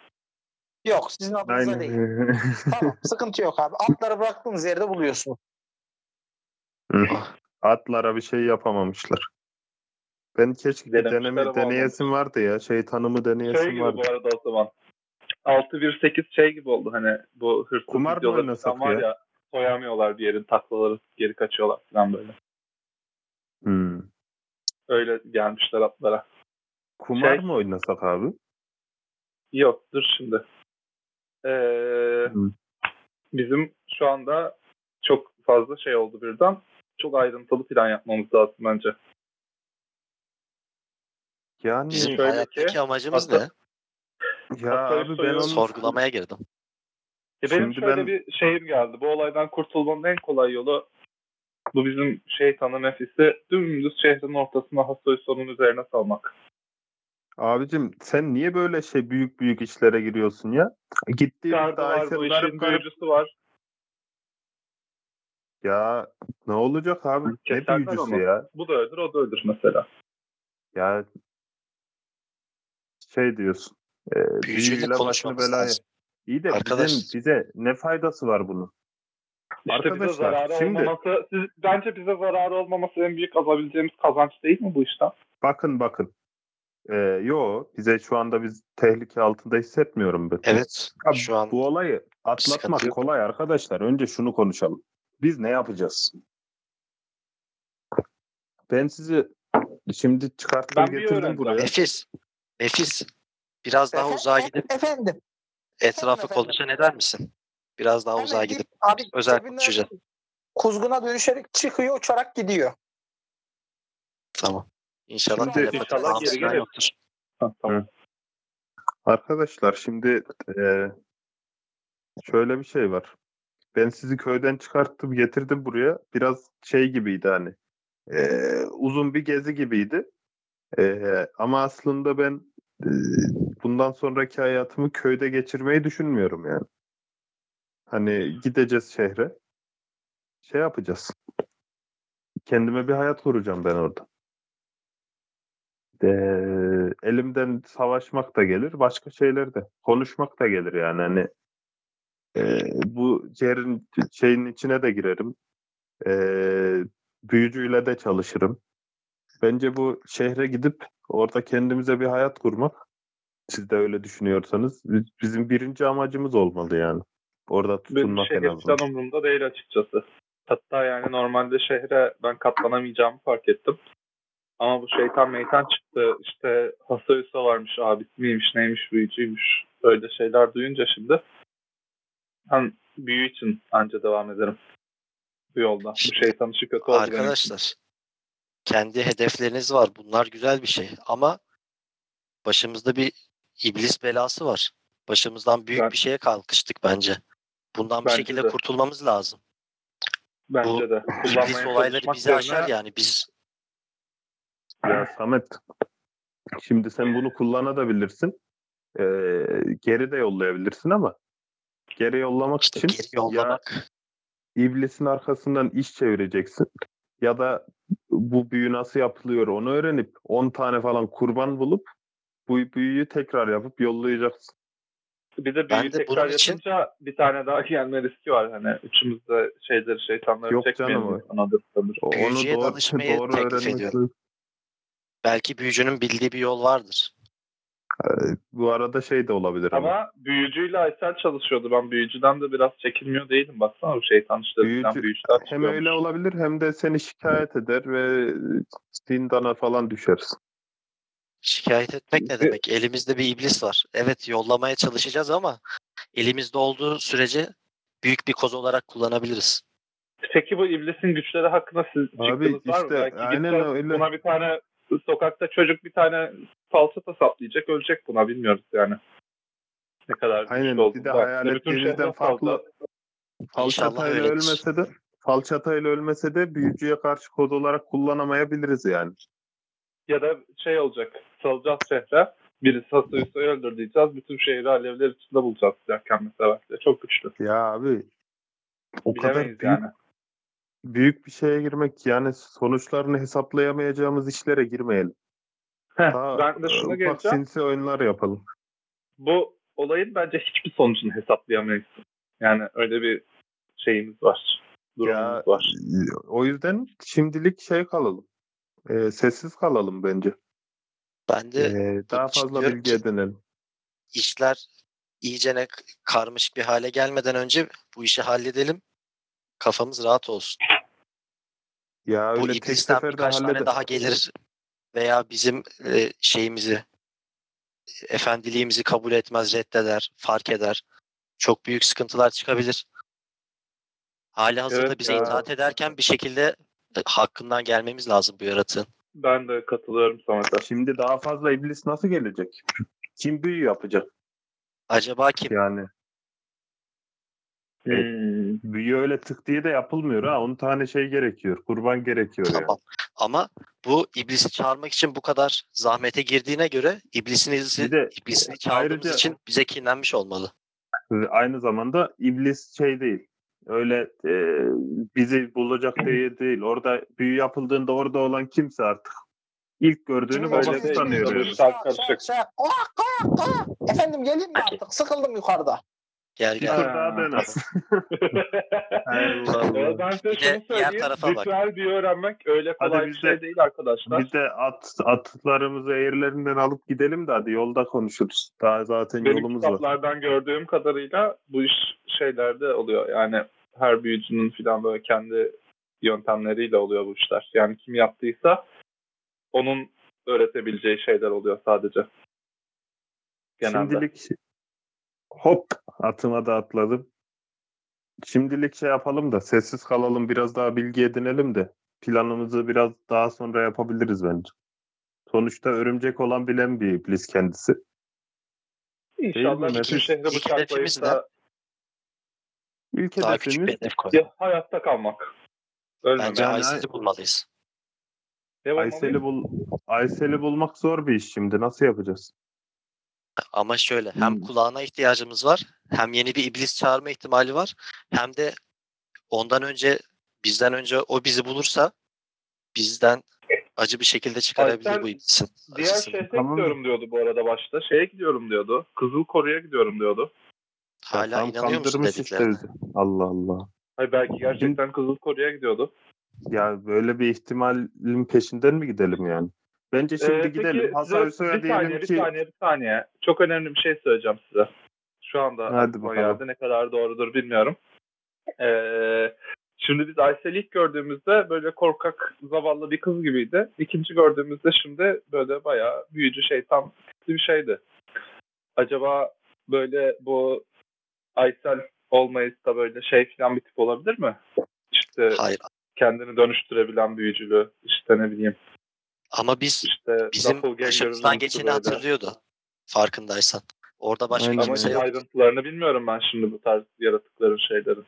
Speaker 2: Yok sizin adınıza değil.
Speaker 3: Aynen.
Speaker 2: Tamam sıkıntı yok abi. Atları bıraktığınız yerde buluyorsunuz.
Speaker 3: Ah, Atlara bir şey yapamamışlar. Ben keşke
Speaker 4: Denemişler
Speaker 3: deneme,
Speaker 4: ama
Speaker 3: deneyesim vardı ya. Şey tanımı deneyesim
Speaker 4: Şey gibi
Speaker 3: vardı.
Speaker 4: bu arada o zaman. 6-1-8 şey gibi oldu hani bu hırsız
Speaker 3: Kumar mı
Speaker 4: videoları
Speaker 3: oynasak
Speaker 4: falan var
Speaker 3: ya?
Speaker 4: ya soyamıyorlar bir yerin taklaları geri kaçıyorlar falan böyle.
Speaker 3: Hmm.
Speaker 4: Öyle gelmişler atlara.
Speaker 3: Kumar
Speaker 4: Şey-
Speaker 3: mı oynasak abi?
Speaker 4: Yok dur şimdi. Ee,
Speaker 3: Hmm.
Speaker 4: bizim şu anda çok fazla şey oldu birden. Çok ayrıntılı plan yapmamız lazım bence.
Speaker 3: Yani
Speaker 5: Bizim
Speaker 4: Şöyle ki,
Speaker 5: hayattaki amacımız
Speaker 4: hatta-
Speaker 5: ne?
Speaker 3: ya
Speaker 4: Hatay'ı
Speaker 3: abi ben onu
Speaker 4: soyuyoruz.
Speaker 5: Sorgulamaya girdim.
Speaker 4: E benim
Speaker 3: Şimdi
Speaker 4: şöyle
Speaker 3: ben-
Speaker 4: bir şeyim geldi. Bu olaydan kurtulmanın en kolay yolu bu bizim şeytanın nefisi dümdüz şehrin ortasına Hasoyso'nun üzerine salmak.
Speaker 3: Abicim sen niye böyle şey büyük büyük işlere giriyorsun ya? Gittiğimiz
Speaker 4: Garda var bu
Speaker 3: dahil
Speaker 4: işin
Speaker 3: garip garip.
Speaker 4: büyücüsü var.
Speaker 3: Ya ne olacak abi? Ne
Speaker 4: Keserler
Speaker 3: büyücüsü
Speaker 4: onu.
Speaker 3: ya?
Speaker 4: Bu da öldür o da öldür mesela.
Speaker 3: Ya şey diyorsun. E,
Speaker 5: Büyücüyle
Speaker 3: büyüyle başını
Speaker 5: konuşmamız
Speaker 3: belaya.
Speaker 5: lazım.
Speaker 3: İyi de
Speaker 5: Arkadaş.
Speaker 3: bizim bize ne faydası var bunun?
Speaker 4: İşte
Speaker 3: Arkadaşlar,
Speaker 4: bize zararı
Speaker 3: şimdi-
Speaker 4: olmaması, siz, bence bize zararı olmaması en büyük alabileceğimiz kazanç değil mi bu işten?
Speaker 3: Bakın bakın. E, yo bize şu anda biz tehlike altında hissetmiyorum ben.
Speaker 5: Evet.
Speaker 3: Ya
Speaker 5: Şu an
Speaker 3: Bu olayı atlatmak
Speaker 5: sıkıntı yok.
Speaker 3: kolay arkadaşlar. Önce şunu konuşalım. Biz ne yapacağız? Ben sizi şimdi çıkarttım
Speaker 4: Ben bir
Speaker 3: getirdim
Speaker 4: öğrendim.
Speaker 3: buraya.
Speaker 5: nefis. Nefis. Biraz daha
Speaker 2: Efe-
Speaker 5: uzağa
Speaker 2: e-
Speaker 5: gidip
Speaker 2: Efendim.
Speaker 5: etrafı
Speaker 2: efendim.
Speaker 5: konuşan eder misin? Biraz daha
Speaker 2: hemen
Speaker 5: uzağa
Speaker 2: hani bir-
Speaker 5: gidip
Speaker 2: abi,
Speaker 5: özel
Speaker 2: tribünler
Speaker 5: konuşacağız.
Speaker 2: Kuzguna dönüşerek çıkıyor uçarak gidiyor.
Speaker 5: Tamam. İnşallah
Speaker 2: Şimdi-
Speaker 5: telepati
Speaker 4: İnşallah
Speaker 5: falan
Speaker 4: geri
Speaker 5: filan
Speaker 4: gelir.
Speaker 5: yoktur.
Speaker 4: Ha, tamam.
Speaker 3: Arkadaşlar şimdi e, şöyle bir şey var. Ben sizi köyden çıkarttım getirdim buraya. Biraz şey gibiydi hani. E, uzun bir gezi gibiydi. E, ama aslında ben e, bundan sonraki hayatımı köyde geçirmeyi düşünmüyorum yani. Hani gideceğiz şehre. Şey yapacağız. Kendime bir hayat kuracağım ben orada. Ee, elimden savaşmak da gelir, başka şeyler de. Konuşmak da gelir yani. Hani e, bu yerin şeyin içine de girerim. Ee, büyücüyle de çalışırım. Bence bu şehre gidip orada kendimize bir hayat kurmak siz de öyle düşünüyorsanız biz- bizim birinci amacımız olmalı yani. Orada
Speaker 4: Benim
Speaker 3: tutunmak en
Speaker 4: şehir
Speaker 3: azından.
Speaker 4: plan umurumda değil açıkçası. Hatta yani normalde şehre ben katlanamayacağımı fark ettim. Ama bu şeytan meytan çıktı. İşte Hasayusa varmış abisi miymiş neymiş büyücüymüş. Öyle şeyler duyunca şimdi ben büyü için anca devam ederim. Bu yolda. Bu şeytan işi kötü oldu benim için.
Speaker 5: Arkadaşlar kendi hedefleriniz var. Bunlar güzel bir şey ama başımızda bir iblis belası var. Başımızdan büyük
Speaker 4: Ben-
Speaker 5: bir şeye kalkıştık bence. Bundan bir
Speaker 4: Bence
Speaker 5: şekilde
Speaker 4: de.
Speaker 5: kurtulmamız lazım.
Speaker 4: Bence de.
Speaker 5: İblis
Speaker 4: Kullanmaya
Speaker 5: olayları
Speaker 4: çalışmak
Speaker 5: bizi aşar
Speaker 4: yerine-
Speaker 5: yani. Biz
Speaker 3: Ya Samet, şimdi sen bunu kullanabilirsin. Ee, geri de yollayabilirsin ama geri yollamak
Speaker 5: işte
Speaker 3: için
Speaker 5: geri yollamak.
Speaker 3: ya iblisin arkasından iş çevireceksin ya da bu büyü nasıl yapılıyor onu öğrenip 10 tane falan kurban bulup bu büyüyü tekrar yapıp yollayacaksın.
Speaker 4: Bir
Speaker 5: Ben
Speaker 4: de büyüyü
Speaker 5: de
Speaker 4: tekrar
Speaker 5: bunun için-
Speaker 4: yapınca bir tane daha gelme riski var. Hani üçümüz de şeyleri şeytanları
Speaker 3: Yok
Speaker 4: çekmeyelim.
Speaker 3: canım,
Speaker 4: Anadır, anadır.
Speaker 3: O- Onu
Speaker 5: Büyücüye
Speaker 3: doğru,
Speaker 5: danışmayı
Speaker 3: doğru
Speaker 5: teklif
Speaker 3: öğrenmek
Speaker 5: ediyorum.
Speaker 3: lazım.
Speaker 5: Belki büyücünün bildiği bir yol vardır.
Speaker 3: Bu arada şey de olabilir ama.
Speaker 4: Ama büyücüyle Aysel çalışıyordu. Ben büyücüden de biraz çekilmiyor değilim. Baksana bu şeytan işlerinden
Speaker 3: Büyücü-
Speaker 4: büyücüler
Speaker 3: Hem öyle
Speaker 4: çıkıyormuş.
Speaker 3: olabilir hem de seni şikayet eder ve zindana falan düşersin.
Speaker 5: Şikayet etmek ne demek? Elimizde bir iblis var. Evet yollamaya çalışacağız ama elimizde olduğu sürece büyük bir koz olarak kullanabiliriz.
Speaker 4: Peki bu iblisin güçleri hakkında siz
Speaker 3: Abi
Speaker 4: fikriniz var mı?
Speaker 3: işte
Speaker 4: Belki
Speaker 3: aynen
Speaker 4: gitsen
Speaker 3: öyle.
Speaker 4: buna bir tane sokakta çocuk bir tane falçata saplayacak ölecek buna bilmiyoruz yani. Ne kadar güçlü
Speaker 3: Aynen, bir
Speaker 4: olduğunu.
Speaker 3: de
Speaker 4: Belki
Speaker 3: hayal
Speaker 4: bütün
Speaker 3: ettiğinizden
Speaker 4: şehre
Speaker 3: farklı-
Speaker 4: saldı.
Speaker 3: Falçatayla
Speaker 5: öyledir.
Speaker 3: ölmese de falçatayla ölmese de büyücüye karşı kod olarak kullanamayabiliriz yani.
Speaker 4: Ya da şey olacak. Salacağız şehre. Birisi hastayı öldür diyeceğiz. Bütün şehri alevler içinde bulacağız derken mesela. Çok güçlü.
Speaker 3: Ya abi o kadar
Speaker 4: Bilemeyiz
Speaker 3: büyük,
Speaker 4: yani.
Speaker 3: büyük bir şeye girmek yani sonuçlarını hesaplayamayacağımız işlere girmeyelim.
Speaker 4: Heh,
Speaker 3: Daha
Speaker 4: ben de şuna
Speaker 3: ufak
Speaker 4: geleceğim.
Speaker 3: sinsi oyunlar yapalım.
Speaker 4: Bu olayın bence hiçbir sonucunu hesaplayamayız. Yani öyle bir şeyimiz var. Durumumuz
Speaker 3: Ya,
Speaker 4: var.
Speaker 3: O yüzden şimdilik şey kalalım. Ee, sessiz kalalım bence.
Speaker 5: Ben de
Speaker 3: Ee, daha fazla
Speaker 5: diyorum
Speaker 3: bilgi
Speaker 5: ki-
Speaker 3: edinelim.
Speaker 5: işler iyicene k- karmaşık bir hale gelmeden önce bu işi halledelim. Kafamız rahat olsun.
Speaker 3: Ya
Speaker 5: bu
Speaker 3: öyle tek
Speaker 5: iblisten
Speaker 3: seferde
Speaker 5: birkaç
Speaker 3: halleder.
Speaker 5: tane daha gelir veya bizim e, şeyimizi efendiliğimizi kabul etmez, reddeder, fark eder. Çok büyük sıkıntılar çıkabilir. Hali hazırda
Speaker 4: Evet
Speaker 5: bize
Speaker 4: ya.
Speaker 5: itaat ederken bir şekilde e, hakkından gelmemiz lazım bu yaratığın.
Speaker 4: Ben de katılıyorum Samet'e.
Speaker 3: Şimdi daha fazla iblis nasıl gelecek? Kim büyü yapacak
Speaker 5: Acaba kim?
Speaker 3: yani? Evet.
Speaker 4: Hmm.
Speaker 3: Büyü öyle tık diye de yapılmıyor ha. 10 tane şey gerekiyor. Kurban gerekiyor yani.
Speaker 5: Tamam. Ama bu iblisi çağırmak için bu kadar zahmete girdiğine göre iblisin izi,
Speaker 3: Bir de
Speaker 5: iblisini çağırdığımız
Speaker 3: ayrıca-
Speaker 5: için bize kinlenmiş olmalı.
Speaker 3: Ve Aynı zamanda iblis şey değil. Öyle e, bizi bulacak diye değil. Orada büyü yapıldığında orada olan kimse artık ilk gördüğünü
Speaker 2: Şimdi
Speaker 4: öyle
Speaker 3: babası
Speaker 4: değil.
Speaker 3: sanıyor yani.
Speaker 2: Şak,
Speaker 4: Şak,
Speaker 2: şak,
Speaker 4: karışık.
Speaker 2: şak. Oh, oh, oh. Efendim gelin mi artık? Sıkıldım yukarıda.
Speaker 5: Gel
Speaker 3: Bir
Speaker 5: gel.
Speaker 3: tur daha dene. Allah Allah.
Speaker 4: Evet, ben size
Speaker 5: Bir de
Speaker 4: şunu
Speaker 5: diğer
Speaker 4: söyleyeyim.
Speaker 5: tarafa bak.
Speaker 4: Ritüel bir öğrenmek öyle kolay bir
Speaker 3: biz
Speaker 4: şey
Speaker 3: de-
Speaker 4: değil arkadaşlar.
Speaker 3: Bir de at, atlarımızı eğirlerinden alıp gidelim de hadi yolda konuşuruz. Daha zaten
Speaker 4: Benim
Speaker 3: yolumuz var.
Speaker 4: kitaplardan gördüğüm kadarıyla bu iş şeylerde oluyor. Yani her büyücünün falan böyle kendi yöntemleriyle oluyor bu işler. Yani kim yaptıysa onun öğretebileceği şeyler oluyor sadece. Genelde.
Speaker 3: Şimdilik şey, hop atıma da atladım. Şimdilik şey yapalım da sessiz kalalım biraz daha bilgi edinelim de planımızı biraz daha sonra yapabiliriz bence. Sonuçta örümcek olan bilen bir iblis kendisi.
Speaker 4: İnşallah
Speaker 3: Değil mi?
Speaker 4: bütün
Speaker 3: Nefis.
Speaker 4: şehri
Speaker 5: İlk hedefimiz
Speaker 4: bıçaklayıp da
Speaker 3: İlk
Speaker 5: Daha küçük bir
Speaker 3: hedefimiz
Speaker 5: hedef koy.
Speaker 4: Ya, hayatta kalmak. Ölmemek.
Speaker 5: Bence
Speaker 3: Yani-
Speaker 5: Aysel'i bulmalıyız.
Speaker 4: Ne
Speaker 3: Aysel'i,
Speaker 4: olmalıyım?
Speaker 3: bul Aysel'i bulmak zor bir iş şimdi. Nasıl yapacağız?
Speaker 5: Ama şöyle hem
Speaker 3: Hmm.
Speaker 5: kulağına ihtiyacımız var hem yeni bir iblis çağırma ihtimali var hem de ondan önce bizden önce o bizi bulursa bizden acı bir şekilde çıkarabilir
Speaker 4: Aysel,
Speaker 5: bu iblisin.
Speaker 4: Diğer
Speaker 5: acısını.
Speaker 4: şehre
Speaker 3: Tamam.
Speaker 4: gidiyorum diyordu bu arada başta. Şeye gidiyorum diyordu. Kızılkoru'ya gidiyorum diyordu.
Speaker 3: Ya
Speaker 5: Hala
Speaker 3: tam
Speaker 5: inanıyor musun
Speaker 3: kandırmış işte
Speaker 5: dediklerine?
Speaker 3: bizi. Allah Allah.
Speaker 4: Hayır belki gerçekten Kızılkoru'ya gidiyordu.
Speaker 3: Ya böyle bir ihtimalin peşinden mi gidelim yani? Bence şimdi
Speaker 4: Ee, peki
Speaker 3: gidelim. Hasan
Speaker 4: size-
Speaker 3: Hüseyin'e
Speaker 4: bir saniye,
Speaker 3: diyelim
Speaker 4: bir
Speaker 3: ki
Speaker 4: saniye, bir saniye. Çok önemli bir şey söyleyeceğim size. Şu anda
Speaker 3: Hadi
Speaker 4: aklıma
Speaker 3: bakalım.
Speaker 4: geldi. Ne kadar doğrudur bilmiyorum. Ee, şimdi biz Aysel'i ilk gördüğümüzde böyle korkak, zavallı bir kız gibiydi. İkinci gördüğümüzde şimdi böyle bayağı büyücü şeytan tipli bir şeydi. Acaba böyle bu Aysel olmayıp da böyle şey falan bir tip olabilir mi? İşte
Speaker 5: Hayır.
Speaker 4: kendini dönüştürebilen büyücülü, işte ne bileyim,
Speaker 5: Ama biz
Speaker 4: işte
Speaker 5: bizim başımızdan
Speaker 4: Doppelganger'ın
Speaker 5: geçeni
Speaker 4: böyle.
Speaker 5: hatırlıyordu. Farkındaysan. Orada başka
Speaker 3: Aynen.
Speaker 4: Ama
Speaker 5: kimse
Speaker 4: işte
Speaker 5: yok.
Speaker 4: ayrıntılarını bilmiyorum ben şimdi bu tarz yaratıkların şeyleri.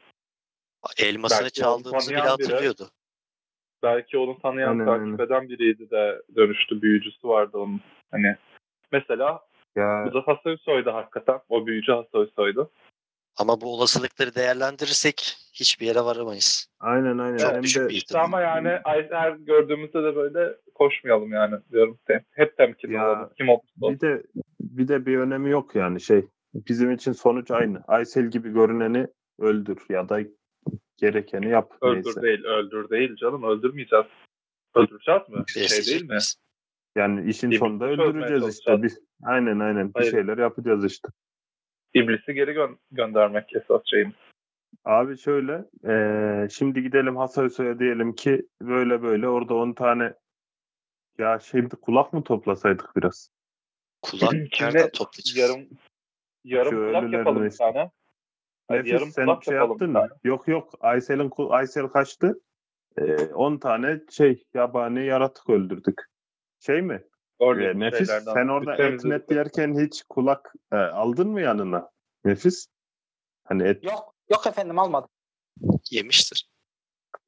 Speaker 5: Elmasını
Speaker 4: Belki
Speaker 5: çaldığımızı bile
Speaker 4: tanıyan biri-
Speaker 5: hatırlıyordu.
Speaker 4: Belki onu tanıyan,
Speaker 3: Aynen,
Speaker 4: takip
Speaker 3: aynen.
Speaker 4: eden biriydi de dönüştü, büyücüsü vardı onun. Hani mesela
Speaker 3: ya
Speaker 4: bu da Hasoysoy'du hakikaten. O büyücü Hasoysoy'du.
Speaker 5: Ama bu olasılıkları değerlendirirsek hiçbir yere varamayız.
Speaker 3: aynen aynen.
Speaker 5: Çok
Speaker 3: Hem
Speaker 5: düşük
Speaker 3: de
Speaker 5: bir
Speaker 4: İşte
Speaker 5: ihtimal.
Speaker 4: ama yani ay- her gördüğümüzde de böyle koşmayalım yani diyorum. Tem- Hep temkinli
Speaker 3: Ya,
Speaker 4: olalım. Kim olursa olsun.
Speaker 3: bir de bir de bir önemi yok yani şey. Bizim için sonuç aynı. Aysel gibi görüneni öldür ya da gerekeni yap.
Speaker 4: Öldür
Speaker 3: neyse.
Speaker 4: değil, öldür değil canım. Öldürmeyeceğiz. Öldüreceğiz mi? Şey
Speaker 5: Besleyecek
Speaker 4: değil mi?
Speaker 5: miyiz?
Speaker 3: Yani işin
Speaker 4: Bir-
Speaker 3: sonunda
Speaker 4: çözmeye
Speaker 3: öldüreceğiz işte.
Speaker 4: çalışacağız.
Speaker 3: Biz, aynen aynen
Speaker 4: Hayır.
Speaker 3: bir şeyler yapacağız işte.
Speaker 4: İblisi geri gö- göndermek esas şeyimiz.
Speaker 3: Abi şöyle, eee, şimdi gidelim Hasaysu'ya diyelim ki böyle böyle orada 10 tane ya şey kulak mı toplasaydık biraz?
Speaker 5: Kulak
Speaker 4: Şimdi
Speaker 5: nereden toplayacağız?
Speaker 4: yarım yarım
Speaker 3: Şu
Speaker 4: kulak
Speaker 3: ölülerin
Speaker 4: yapalım bir
Speaker 3: işte.
Speaker 4: tane. Hayır,
Speaker 3: Nefis
Speaker 4: yarım
Speaker 3: sen
Speaker 4: kulak
Speaker 3: şey
Speaker 4: yapalım
Speaker 3: yaptın
Speaker 4: bir
Speaker 3: mı?
Speaker 4: tane.
Speaker 3: Yok yok Aysel'in kul- Aysel kaçtı. Eee, 10 tane şey yabani yaratık öldürdük. Şey mi?
Speaker 4: Öyle
Speaker 3: Ee, nefis
Speaker 4: şeylerden
Speaker 3: sen orada et
Speaker 4: temizledik.
Speaker 3: met yerken hiç kulak e, aldın mı yanına? Nefis. Hani et
Speaker 2: Yok yok efendim almadım.
Speaker 5: Yemiştir.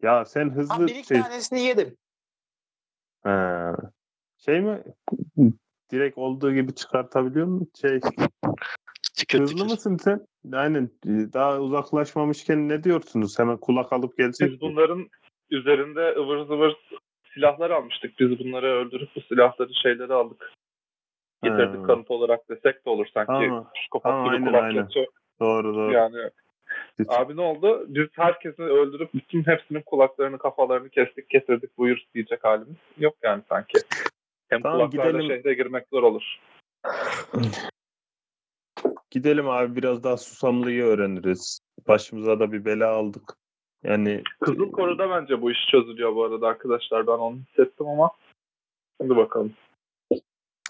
Speaker 3: ya sen
Speaker 2: Ha,
Speaker 3: hızlı
Speaker 2: bir iki
Speaker 3: şey
Speaker 2: tanesini yedim.
Speaker 3: Ha. şey mi? Direkt olduğu gibi çıkartabiliyor musun? Şey
Speaker 5: Tükür
Speaker 3: hızlı
Speaker 5: tükür.
Speaker 3: mısın sen? Aynen. e, Daha uzaklaşmamışken ne diyorsunuz? Hemen kulak alıp
Speaker 4: Biz
Speaker 3: gelsek. mi?
Speaker 4: bunların üzerinde ıvır zıvır silahlar almıştık. Biz bunları öldürüp bu silahları şeyleri aldık. Getirdik
Speaker 3: Ha.
Speaker 4: kanıt olarak desek de olur sanki.
Speaker 3: Tamam.
Speaker 4: Psikopat
Speaker 3: Tamam,
Speaker 4: gibi
Speaker 3: aynen,
Speaker 4: kulak
Speaker 3: aynen.
Speaker 4: kesiyor.
Speaker 3: Doğru doğru.
Speaker 4: Yani
Speaker 3: Biz-
Speaker 4: abi ne oldu? Biz herkesini öldürüp bütün hepsinin kulaklarını kafalarını kestik getirdik buyur diyecek halimiz yok yani sanki. Hem
Speaker 3: Tamam,
Speaker 4: kulaklarla
Speaker 3: gidelim.
Speaker 4: şehre girmek zor olur.
Speaker 3: Gidelim abi biraz daha susamlıyı öğreniriz. Başımıza da bir bela aldık. Yani e,
Speaker 4: Kızıl
Speaker 3: Ee,
Speaker 4: Koru'da bence bu iş çözülüyor bu arada arkadaşlar. Ben onu hissettim ama. Şimdi bakalım.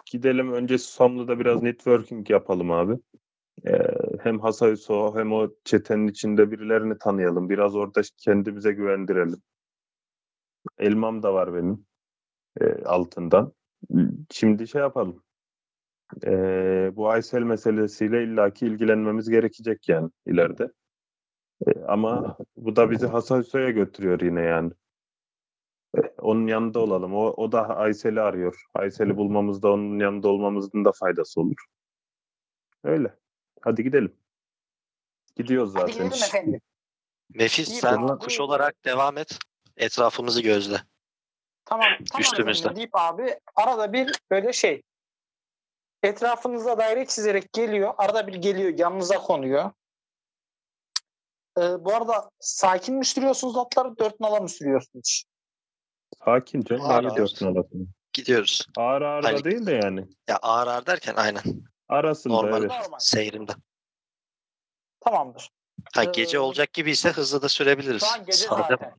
Speaker 3: gidelim önce Susamlı'da biraz networking yapalım abi. Ee, hem Hasay Soğuk hem o çetenin içinde birilerini tanıyalım. Biraz orada kendimize güvendirelim. Elmam da var benim e, altından. Şimdi şey yapalım. Ee, bu Aysel meselesiyle illaki ilgilenmemiz gerekecek yani ileride. Ee, ama bu da bizi Hasay Soğuk'a götürüyor yine yani. Ee, onun yanında olalım. O, o da Aysel'i arıyor. Aysel'i bulmamızda onun yanında olmamızın da faydası olur. Öyle. Hadi gidelim. Gidiyoruz zaten.
Speaker 2: Hadi gidelim efendim.
Speaker 5: Nefis
Speaker 2: İyi,
Speaker 5: sen
Speaker 2: tamam.
Speaker 5: kuş olarak devam et. Etrafımızı gözle.
Speaker 2: Tamam tamam
Speaker 5: Üstümüzde.
Speaker 2: efendim deyip abi arada bir böyle şey etrafınıza daire çizerek geliyor. Arada bir geliyor yanınıza konuyor. Ee, bu arada sakin mi sürüyorsunuz atları dört nala mı sürüyorsunuz?
Speaker 3: Sakin canım.
Speaker 5: Ağır
Speaker 3: Ağır
Speaker 5: ağır.
Speaker 3: dört nalasını.
Speaker 5: Gidiyoruz.
Speaker 3: Ağır ağır da
Speaker 5: Hani-
Speaker 3: değil de yani.
Speaker 5: Ya ağır ağır derken aynen.
Speaker 3: Arasında
Speaker 5: Normal.
Speaker 3: evet.
Speaker 2: Normal.
Speaker 5: Seyrinde.
Speaker 2: Tamamdır.
Speaker 5: Ha
Speaker 2: Ee,
Speaker 5: gece olacak gibi ise hızlı da sürebiliriz.
Speaker 2: Şu an gece
Speaker 5: Sade-
Speaker 2: zaten.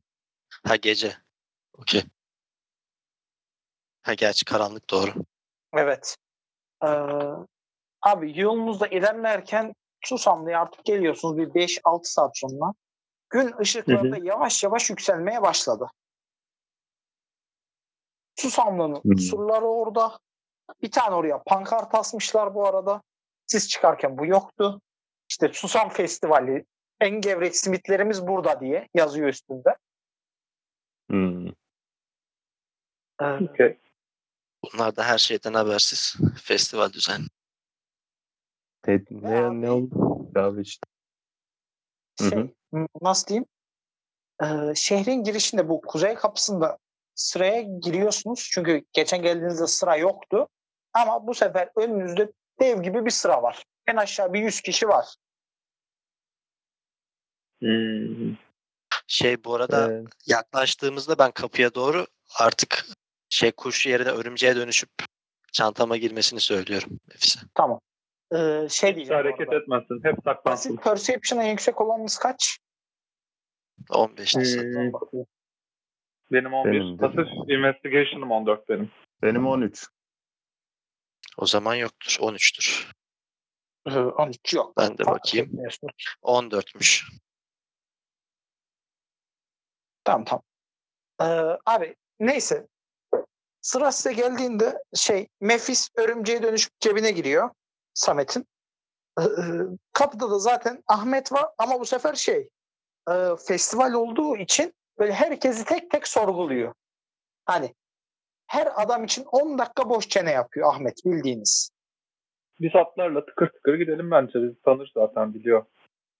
Speaker 5: Ha gece. Okey. Ha gerçi karanlık doğru.
Speaker 2: Evet. Ee, abi yolunuzda ilerlerken Susamlı'ya artık geliyorsunuz bir 5-6 saat sonra. Gün ışıkları da yavaş yavaş yükselmeye başladı. Susamlı'nın
Speaker 3: Hı.
Speaker 2: surları orada. Bir tane oraya pankart asmışlar bu arada. Siz çıkarken bu yoktu. İşte Susam Festivali en gevrek simitlerimiz burada diye yazıyor üstünde.
Speaker 3: Hmm.
Speaker 2: Ee,
Speaker 4: Okey.
Speaker 5: Bunlar da her şeyden habersiz. Festival düzen.
Speaker 3: Ne,
Speaker 2: Ya
Speaker 3: ne,
Speaker 2: abi.
Speaker 3: ne oldu? Abi işte. Hı hı.
Speaker 2: şey m- nasıl diyeyim Ee, şehrin girişinde bu kuzey kapısında sıraya giriyorsunuz çünkü geçen geldiğinizde sıra yoktu ama bu sefer önünüzde dev gibi bir sıra var en aşağı bir 100 kişi var
Speaker 4: Hmm.
Speaker 5: Şey bu arada
Speaker 3: Ee,
Speaker 5: yaklaştığımızda ben kapıya doğru artık şey kuş yerine örümceğe dönüşüp çantama girmesini söylüyorum Nefise.
Speaker 2: tamam Ee, şey
Speaker 4: Hiç
Speaker 2: diyeceğim bu
Speaker 4: hareket
Speaker 2: arada.
Speaker 4: etmesin. Hep saklansın.
Speaker 2: basit perception'a yüksek olanınız kaç
Speaker 5: 15
Speaker 4: Hmm.
Speaker 2: Ona bakayım.
Speaker 4: Benim 11.
Speaker 3: Ee, Benim de.
Speaker 4: Pasif investigation'ım 14 benim.
Speaker 3: benim 13.
Speaker 5: O zaman yoktur. 13'tür.
Speaker 2: Ee, 13 yok
Speaker 5: Ben de
Speaker 2: Fark
Speaker 5: bakayım.
Speaker 2: etmiyorsunuz.
Speaker 5: 14'müş.
Speaker 2: Tamam tamam. Ee, abi neyse. Sıra size geldiğinde şey Mefis örümceğe dönüşüp cebine giriyor Samet'in. Ee, kapıda da zaten Ahmet var ama bu sefer şey e, festival olduğu için böyle herkesi tek tek sorguluyor. Hani her adam için 10 dakika boş çene yapıyor Ahmet bildiğiniz.
Speaker 4: Biz atlarla tıkır tıkır gidelim bence. Bizi tanır zaten biliyor.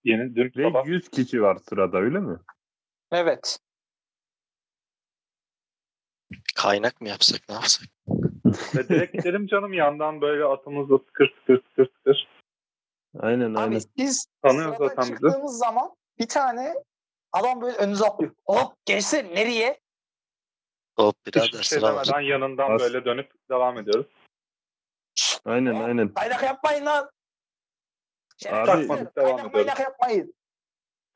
Speaker 4: Yeni dün
Speaker 3: Ve
Speaker 4: sabah
Speaker 3: 100 kişi var sırada öyle mi?
Speaker 2: Evet.
Speaker 5: Kaynak mı yapsak ne yapsak?
Speaker 4: ve direkt gidelim canım yandan böyle atımızla tıkır tıkır tıkır tıkır.
Speaker 3: Aynen
Speaker 2: Abi
Speaker 3: aynen.
Speaker 2: biz
Speaker 4: Tanıyor
Speaker 2: sıradan
Speaker 4: zaten bizi.
Speaker 2: çıktığımız zaman bir tane adam böyle önünüze atlıyor. Hop gençler nereye?
Speaker 5: Hop
Speaker 4: Hiçbir
Speaker 5: birader
Speaker 4: şey
Speaker 5: sıra var.
Speaker 4: demeden yanından
Speaker 3: As-
Speaker 4: böyle dönüp devam ediyoruz.
Speaker 3: Aynen aynen.
Speaker 2: Kaynak yapmayın lan.
Speaker 3: Abi-
Speaker 2: Şerefsizler,
Speaker 4: Devam
Speaker 2: Kaynak maynak yapmayın.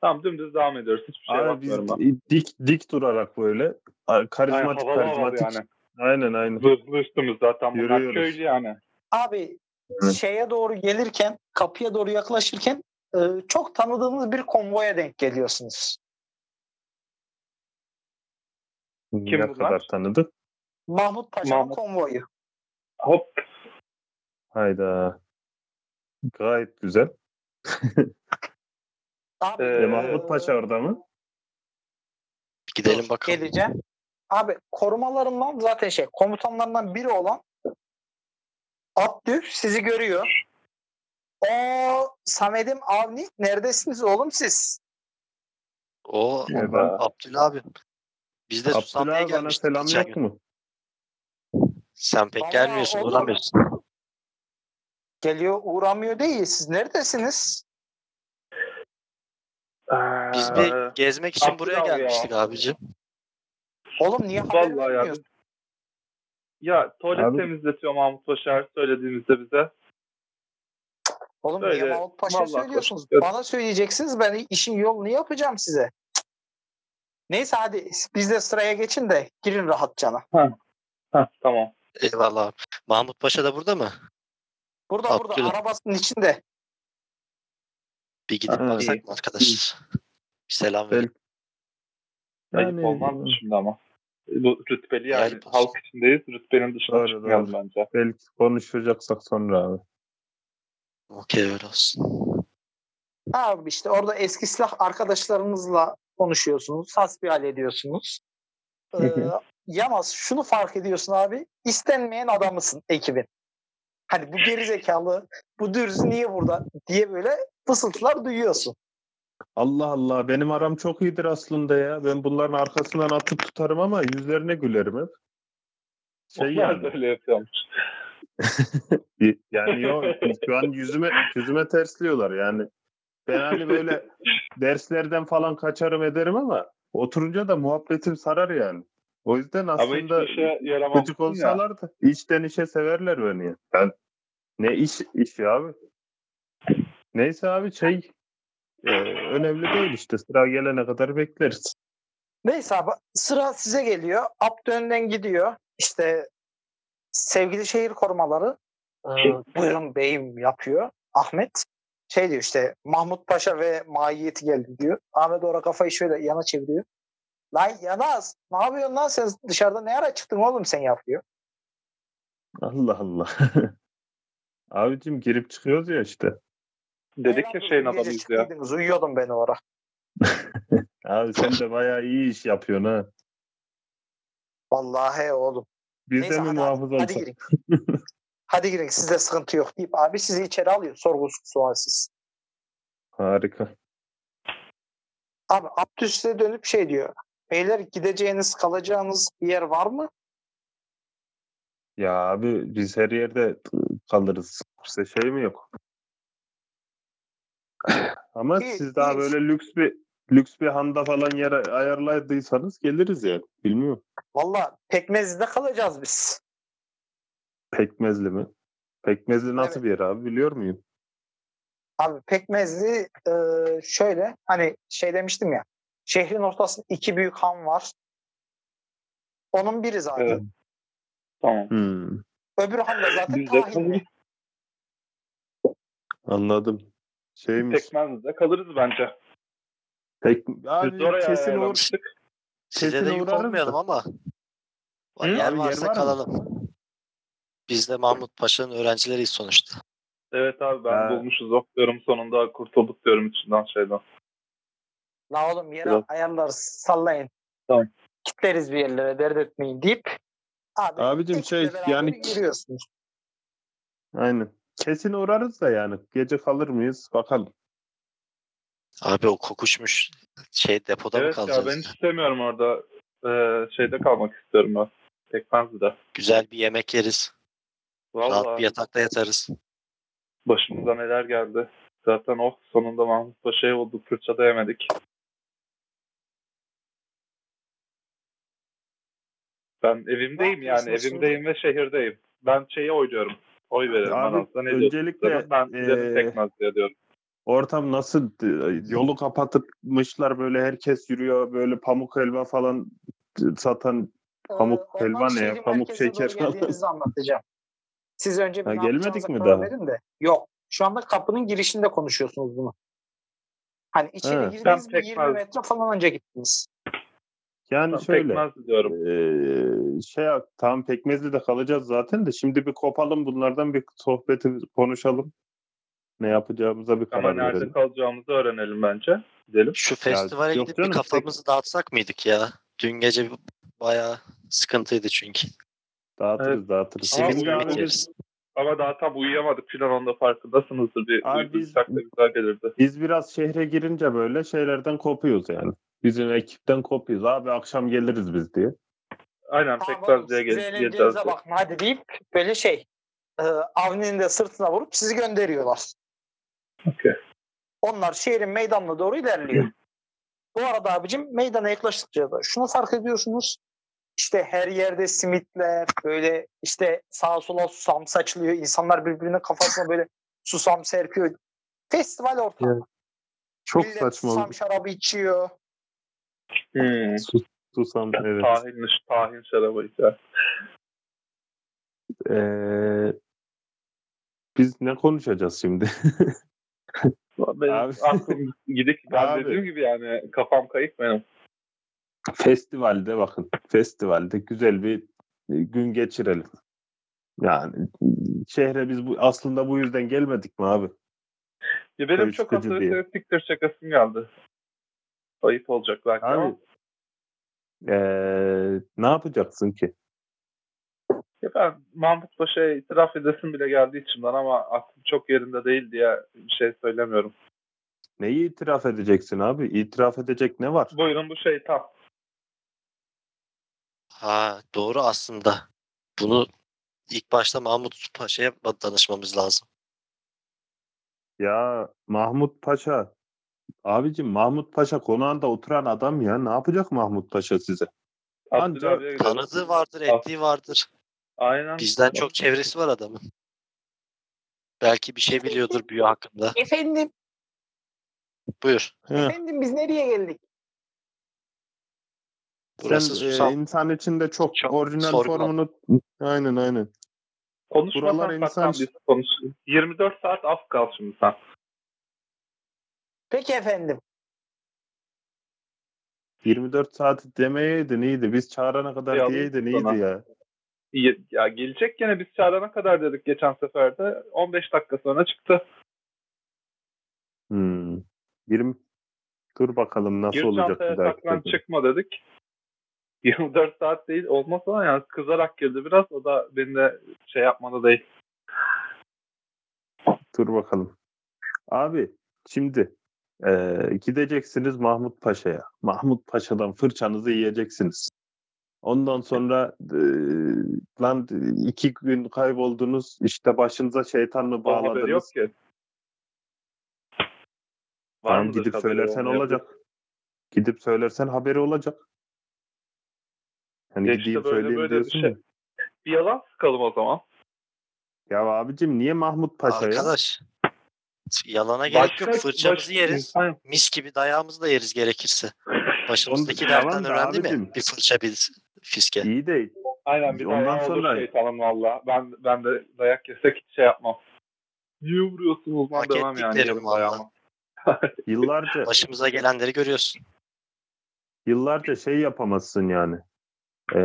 Speaker 4: Tamam dümdüz devam ediyoruz. Hiçbir şeye
Speaker 3: Abi biz
Speaker 4: bakmıyorum ben.
Speaker 3: dik dik durarak böyle a-
Speaker 4: Yani
Speaker 3: karizmatik
Speaker 4: havalı havalı
Speaker 3: karizmatik.
Speaker 4: yani.
Speaker 3: Aynen aynen.
Speaker 4: Hızlı üstümüz zaten bunlar
Speaker 3: Yürüyoruz.
Speaker 4: köylü yani.
Speaker 2: Abi
Speaker 3: Evet.
Speaker 2: şeye doğru gelirken kapıya doğru yaklaşırken e, çok tanıdığınız bir konvoya denk geliyorsunuz.
Speaker 4: Kim
Speaker 3: ne
Speaker 4: bunlar?
Speaker 3: kadar tanıdık?
Speaker 2: Mahmut Paşa'nın
Speaker 4: Mahmut.
Speaker 2: konvoyu.
Speaker 4: Hop
Speaker 3: Hayda. Gayet güzel.
Speaker 2: Abi,
Speaker 4: Ee,
Speaker 3: E, Mahmut Paşa orada mı?
Speaker 5: Gidelim bakalım.
Speaker 2: Geleceğim. Abi korumalarından zaten şey komutanlarından biri olan Abdü sizi görüyor. O Samet'im Avni neredesiniz oğlum siz?
Speaker 5: O
Speaker 3: Ya
Speaker 4: Ama-
Speaker 3: ben-
Speaker 5: Abdül abi. Biz de Susamlı'ya
Speaker 3: Abdullah bana
Speaker 5: gelmiştik.
Speaker 3: selam
Speaker 5: geçen
Speaker 3: yok
Speaker 5: gün.
Speaker 3: mu?
Speaker 5: Sen pek
Speaker 2: Ama
Speaker 5: gelmiyorsun,
Speaker 2: oğlum-
Speaker 5: uğramıyorsun.
Speaker 2: Geliyor uğramıyor değil siz neredesiniz?
Speaker 5: Biz
Speaker 4: Ee,
Speaker 5: bir gezmek için
Speaker 4: Abdül
Speaker 5: buraya
Speaker 4: abi ya.
Speaker 5: gelmiştik abicim.
Speaker 2: Oğlum niye haber
Speaker 4: Vallahi ya.
Speaker 2: vermiyorsun?
Speaker 4: Ya tuvalet
Speaker 3: Abi-
Speaker 4: temizletiyor Mahmut Paşa her söylediğimizde bize.
Speaker 2: Oğlum
Speaker 4: Öyle,
Speaker 2: niye Mahmut Paşa
Speaker 4: vallahi
Speaker 2: söylüyorsunuz?
Speaker 4: koştuk.
Speaker 2: Bana söyleyeceksiniz ben işin yolunu yapacağım size. Cık. Neyse hadi biz de sıraya geçin de girin rahatçana.
Speaker 4: Heh, tamam.
Speaker 5: Eyvallah. abi. Mahmut Paşa da burada mı?
Speaker 2: Burada
Speaker 5: Abdülhamid.
Speaker 2: burada arabasının içinde.
Speaker 5: Bir gidip
Speaker 3: Ha.
Speaker 5: baksak mı arkadaşlar? Bir selam verelim.
Speaker 4: Ayıp olmaz mı şimdi ama? Bu rütbeli yani.
Speaker 5: Ayıp olsun.
Speaker 4: Halk içindeyiz. Rütbenin dışına
Speaker 3: Doğru,
Speaker 4: çıkmayalım bence.
Speaker 3: belki konuşacaksak sonra abi.
Speaker 5: Okey öyle olsun.
Speaker 2: Abi işte orada eski silah arkadaşlarınızla konuşuyorsunuz, hasbihal ediyorsunuz. Ee,
Speaker 3: Hı hı.
Speaker 2: Yamaz şunu fark ediyorsun abi. istenmeyen adamısın ekibin. Hani bu gerizekalı, bu dürüst niye burada diye böyle fısıltılar duyuyorsun.
Speaker 3: Allah Allah benim aram çok iyidir aslında ya. Ben bunların arkasından atıp tutarım ama yüzlerine gülerim hep. Şey
Speaker 4: Onlar
Speaker 3: yani.
Speaker 4: da öyle yapıyormuş.
Speaker 3: Y- Yani yok şu an yüzüme yüzüme tersliyorlar yani. Ben hani böyle derslerden falan kaçarım ederim ama oturunca da muhabbetim sarar yani. O yüzden
Speaker 4: Ama
Speaker 3: aslında
Speaker 4: hiçbir şey şeye yaramam.
Speaker 3: gıcık olsalar da içten işe severler beni. ya. Ben ne iş işi abi. Neyse abi şey e, önemli değil işte sıra gelene kadar bekleriz.
Speaker 2: Neyse abi sıra size geliyor. Abdü önden gidiyor. İşte sevgili şehir korumaları e, buyurun beyim yapıyor. Ahmet şey diyor işte Mahmut Paşa ve mahiyeti geldi diyor. Ahmet orada kafayı şöyle yana çeviriyor. Lan yanaz ne yapıyorsun lan sen dışarıda ne ara çıktın oğlum sen yapıyor.
Speaker 3: Allah Allah. Abicim girip çıkıyoruz ya işte.
Speaker 4: Dedik ya
Speaker 2: Beyler,
Speaker 4: şeyin
Speaker 2: dün gece
Speaker 4: adamı izliyor.
Speaker 2: çıktıydınız, Uyuyordum ben orada.
Speaker 3: Abi sen de bayağı iyi iş yapıyorsun ha.
Speaker 2: Vallahi oğlum.
Speaker 3: Biz
Speaker 2: Neyse
Speaker 3: de mi
Speaker 2: hadi,
Speaker 3: muhafız
Speaker 2: hadi
Speaker 3: olsak?
Speaker 2: girin. hadi girin sizde sıkıntı yok deyip abi sizi içeri alıyor sorgusuz sualsiz.
Speaker 3: Harika.
Speaker 2: Abi Abdü size dönüp şey diyor. Beyler gideceğiniz kalacağınız bir yer var mı?
Speaker 3: Ya abi biz her yerde kalırız. Size şey mi yok? Ama
Speaker 2: İyi,
Speaker 3: siz daha
Speaker 2: iyi.
Speaker 3: böyle lüks bir lüks bir handa falan yer ayarladıysanız geliriz yani. Bilmiyorum.
Speaker 2: Valla pekmezde kalacağız biz.
Speaker 3: Pekmezli mi? Pekmezli nasıl bir yer abi biliyor muyum?
Speaker 2: Abi pekmezli e, şöyle hani şey demiştim ya. Şehrin ortasında iki büyük han var. Onun biri zaten.
Speaker 4: Evet. Tamam.
Speaker 3: Hmm,
Speaker 2: Öbürü han da zaten
Speaker 4: Biz de
Speaker 2: tahinli.
Speaker 3: anladım. Şeymiş.
Speaker 4: Tekmenizde kalırız bence.
Speaker 3: Pek,
Speaker 4: Biz
Speaker 3: abi
Speaker 4: de oraya
Speaker 3: kesin or
Speaker 4: ayarlamıştık.
Speaker 5: Size
Speaker 3: Kesin
Speaker 5: de yük
Speaker 3: uğrarız
Speaker 5: olmayalım
Speaker 3: da.
Speaker 5: ama.
Speaker 4: Hı?
Speaker 5: Yer
Speaker 3: Abi yer
Speaker 5: varsa
Speaker 3: var mı?
Speaker 5: kalalım. Biz de Mahmut Paşa'nın öğrencileriyiz sonuçta.
Speaker 4: Evet abi ben
Speaker 3: Ha.
Speaker 4: bulmuşuz ok diyorum sonunda kurtulduk diyorum içinden şeyden.
Speaker 2: La oğlum yere
Speaker 4: Biraz-
Speaker 2: ayarlarız sallayın.
Speaker 4: Tamam.
Speaker 2: Kitleriz bir yerlere dert etmeyin deyip abi
Speaker 3: Abicim
Speaker 2: ekiple
Speaker 3: şey
Speaker 2: beraber
Speaker 3: yani
Speaker 2: yürüyorsunuz.
Speaker 3: aynen. Kesin uğrarız da yani. Gece kalır mıyız? Bakalım.
Speaker 5: Abi o kokuşmuş şey depoda mı
Speaker 4: evet ya
Speaker 5: kalacağız?
Speaker 4: ben hiç istemiyorum orada. Ee, şeyde kalmak istiyorum ben. Tekmenizde.
Speaker 5: Güzel bir yemek yeriz. Rahat bir
Speaker 4: Vallahi
Speaker 5: yatakta yatarız.
Speaker 4: başımıza neler geldi. Zaten oh sonunda Mahmut Paşa'ya oldu fırça da yemedik. Ben evimdeyim
Speaker 2: Ne
Speaker 4: yani
Speaker 2: yapıyorsun
Speaker 4: evimdeyim ve şehirdeyim. Ben şeye oyluyorum. Oy verelim.
Speaker 3: Abi,
Speaker 4: Abi, ne
Speaker 3: öncelikle, e,
Speaker 4: diyorsun? Ben sizlerin
Speaker 3: eee,
Speaker 4: pekmez diye diyorum.
Speaker 3: Ortam nasıl yolu kapatmışlar böyle herkes yürüyor böyle pamuk helva falan satan Pamuk
Speaker 2: Ee, ondan
Speaker 3: helva ne ya?
Speaker 2: şehrin
Speaker 3: Pamuk
Speaker 2: merkezine
Speaker 3: şeker
Speaker 2: doğru
Speaker 3: falan.
Speaker 2: geldiğinizde anlatacağım. Siz önce bir
Speaker 3: Ha,
Speaker 2: ne
Speaker 3: gelmedik
Speaker 2: yapacağınıza
Speaker 3: mi
Speaker 2: karar
Speaker 3: daha?
Speaker 2: verin de. Yok. Şu anda kapının girişinde konuşuyorsunuz bunu. Hani içeri
Speaker 3: Ha.
Speaker 2: girdiniz
Speaker 4: Ben
Speaker 2: bir 20
Speaker 4: pekmez-
Speaker 2: metre falan önce gittiniz.
Speaker 3: yani
Speaker 4: Ben
Speaker 3: şöyle
Speaker 4: pekmez diyorum.
Speaker 3: eee, şey yap- tam pekmezli de kalacağız zaten de şimdi bir kopalım bunlardan bir sohbeti konuşalım ne yapacağımıza bir
Speaker 4: Ama
Speaker 3: karar
Speaker 4: nerede
Speaker 3: verelim.
Speaker 4: kalacağımızı öğrenelim bence. Gidelim.
Speaker 5: Şu festivale
Speaker 3: yok
Speaker 5: gidip
Speaker 3: canım,
Speaker 5: bir kafamızı dağıtsak mıydık ya? Dün gece bayağı sıkıntıydı çünkü.
Speaker 3: Dağıtırız dağıtırız.
Speaker 4: Ama
Speaker 5: Simit
Speaker 3: Şimdi
Speaker 4: uyuyor
Speaker 5: simit
Speaker 3: abi
Speaker 4: olabilir.
Speaker 5: yeriz.
Speaker 3: biz,
Speaker 4: Ama daha tam uyuyamadık filan onda farkındasınızdır. Bir
Speaker 3: Abi
Speaker 4: uyuduysak
Speaker 3: biz-
Speaker 4: da güzel gelirdi.
Speaker 3: biz biraz şehre girince böyle şeylerden kopuyoruz yani. Bizim ekipten kopuyoruz abi akşam geliriz biz diye.
Speaker 4: Aynen
Speaker 2: Tamam
Speaker 4: pekmez diye
Speaker 2: siz
Speaker 4: gel-
Speaker 2: eğlencenize
Speaker 4: geleceğiz. diye.
Speaker 2: bakın hadi deyip böyle şey e, Avni'nin de sırtına vurup sizi gönderiyorlar.
Speaker 4: Okey.
Speaker 2: Onlar şehrin meydanına doğru ilerliyor. Bu arada abicim meydana yaklaştıkça da şunu fark ediyorsunuz. İşte her yerde simitler böyle işte sağa sola susam saçılıyor. İnsanlar birbirinin kafasına böyle susam serpiyor. Festival ortamı.
Speaker 3: Çok
Speaker 2: Millet
Speaker 3: saçma
Speaker 2: susam şarabı içiyor.
Speaker 4: Hmm.
Speaker 3: Sus, susam evet.
Speaker 4: Tahin, tahin şarabı içer.
Speaker 3: Ee, biz ne konuşacağız şimdi?
Speaker 4: Benim
Speaker 3: Abi.
Speaker 4: aklım gidik. Ben
Speaker 3: Abi.
Speaker 4: dediğim gibi yani kafam kayık benim.
Speaker 3: Festivalde bakın. Festivalde güzel bir e, gün geçirelim. Yani şehre biz bu aslında bu yüzden gelmedik mi abi?
Speaker 4: Ya benim
Speaker 3: Kayıt
Speaker 4: çok
Speaker 3: sıkıcı diye.
Speaker 4: asosyal siktir şakasım geldi. Ayıp olacak belki
Speaker 3: Abi
Speaker 4: ama.
Speaker 3: ee, ne yapacaksın ki?
Speaker 4: Ya ben Mahmut Paşa'ya itiraf edesim bile geldi içimden ama aklım çok yerinde değil diye bir şey söylemiyorum.
Speaker 3: Neyi itiraf edeceksin abi? İtiraf edecek ne var?
Speaker 4: Buyurun bu şey, şeytan.
Speaker 5: Ha doğru aslında. Bunu ilk başta Mahmut Paşa'ya danışmamız lazım.
Speaker 3: Ya Mahmut Paşa. Abicim Mahmut Paşa konağında oturan adam ya. Ne yapacak Mahmut Paşa size?
Speaker 4: Abdül
Speaker 3: Ancak-
Speaker 4: abiye gidelim.
Speaker 5: Tanıdığı vardır, ettiği vardır.
Speaker 4: Aynen.
Speaker 5: Bizden çok çevresi var adamın. Belki bir şey biliyordur büyü hakkında.
Speaker 2: Efendim,
Speaker 5: Buyur.
Speaker 3: Heh.
Speaker 2: efendim biz nereye geldik?
Speaker 5: Burası
Speaker 3: Sen, e,
Speaker 5: susam.
Speaker 3: insan içinde çok,
Speaker 5: Çok
Speaker 3: orijinal
Speaker 5: sorgula.
Speaker 3: formunu aynen aynen. Buralar
Speaker 4: Konuşmasan
Speaker 3: insan
Speaker 4: saklan
Speaker 3: işi.
Speaker 4: biz konuş. 24 saat af kal şimdi sen.
Speaker 2: Peki efendim.
Speaker 3: 24 saat demeyeydin iyiydi. Biz çağırana kadar
Speaker 4: Ya,
Speaker 3: diyeydin
Speaker 4: alayım sana.
Speaker 3: iyiydi ya.
Speaker 4: Ye- Ya gelecek gene biz çağırana kadar dedik geçen sefer de. 15 dakika sonra çıktı.
Speaker 3: Hmm. 20 Dur bakalım nasıl
Speaker 4: Gir
Speaker 3: olacak
Speaker 4: çantaya
Speaker 3: bir dahaki
Speaker 4: saklan
Speaker 3: sefer.
Speaker 4: çıkma dedik. 24 saat değil olmaz ama yani kızarak girdi biraz. O da beni de şey yapmadı değil.
Speaker 3: Dur bakalım. Abi şimdi e, gideceksiniz Mahmut Paşa'ya. Mahmut Paşa'dan fırçanızı yiyeceksiniz. Ondan sonra e, lan iki gün kayboldunuz işte başınıza şeytan mı
Speaker 4: O haberi yok
Speaker 3: bağladınız?
Speaker 4: ki. Var
Speaker 3: Tamam
Speaker 4: mıdır
Speaker 3: gidip
Speaker 4: haberi
Speaker 3: söylersen
Speaker 4: olmayabilir?
Speaker 3: olacak. Gidip söylersen haberi olacak. Hani
Speaker 4: Ya işte
Speaker 3: gideyim
Speaker 4: böyle
Speaker 3: söyleyeyim
Speaker 4: böyle bir
Speaker 3: diyorsun
Speaker 4: şey.
Speaker 3: ya.
Speaker 4: Bir yalan sıkalım o zaman.
Speaker 3: Ya abicim niye Mahmut Paşa ya?
Speaker 5: Arkadaş. Yalana gerek yok. Fırçamızı
Speaker 4: başka
Speaker 5: yeriz.
Speaker 4: insan yok.
Speaker 5: Mis gibi dayağımızı da yeriz gerekirse. Başımızdaki
Speaker 3: Onu-
Speaker 5: dertten
Speaker 3: tamam da
Speaker 5: önemli mi?
Speaker 3: abicim.
Speaker 5: Bir fırça bir fiske.
Speaker 3: İyi de
Speaker 4: Aynen bir
Speaker 3: Ondan
Speaker 4: dayağı
Speaker 3: sonra-
Speaker 4: olur şeytanın valla. Ben, ben de dayak yesek hiç şey yapmam. Niye vuruyorsunuz lan
Speaker 5: Hak
Speaker 4: demem yani
Speaker 5: ettiklerim
Speaker 4: yerim
Speaker 5: valla.
Speaker 4: dayağımı.
Speaker 3: yıllarca
Speaker 5: Başımıza gelenleri görüyorsun.
Speaker 3: yıllarca şey yapamazsın yani. Ee,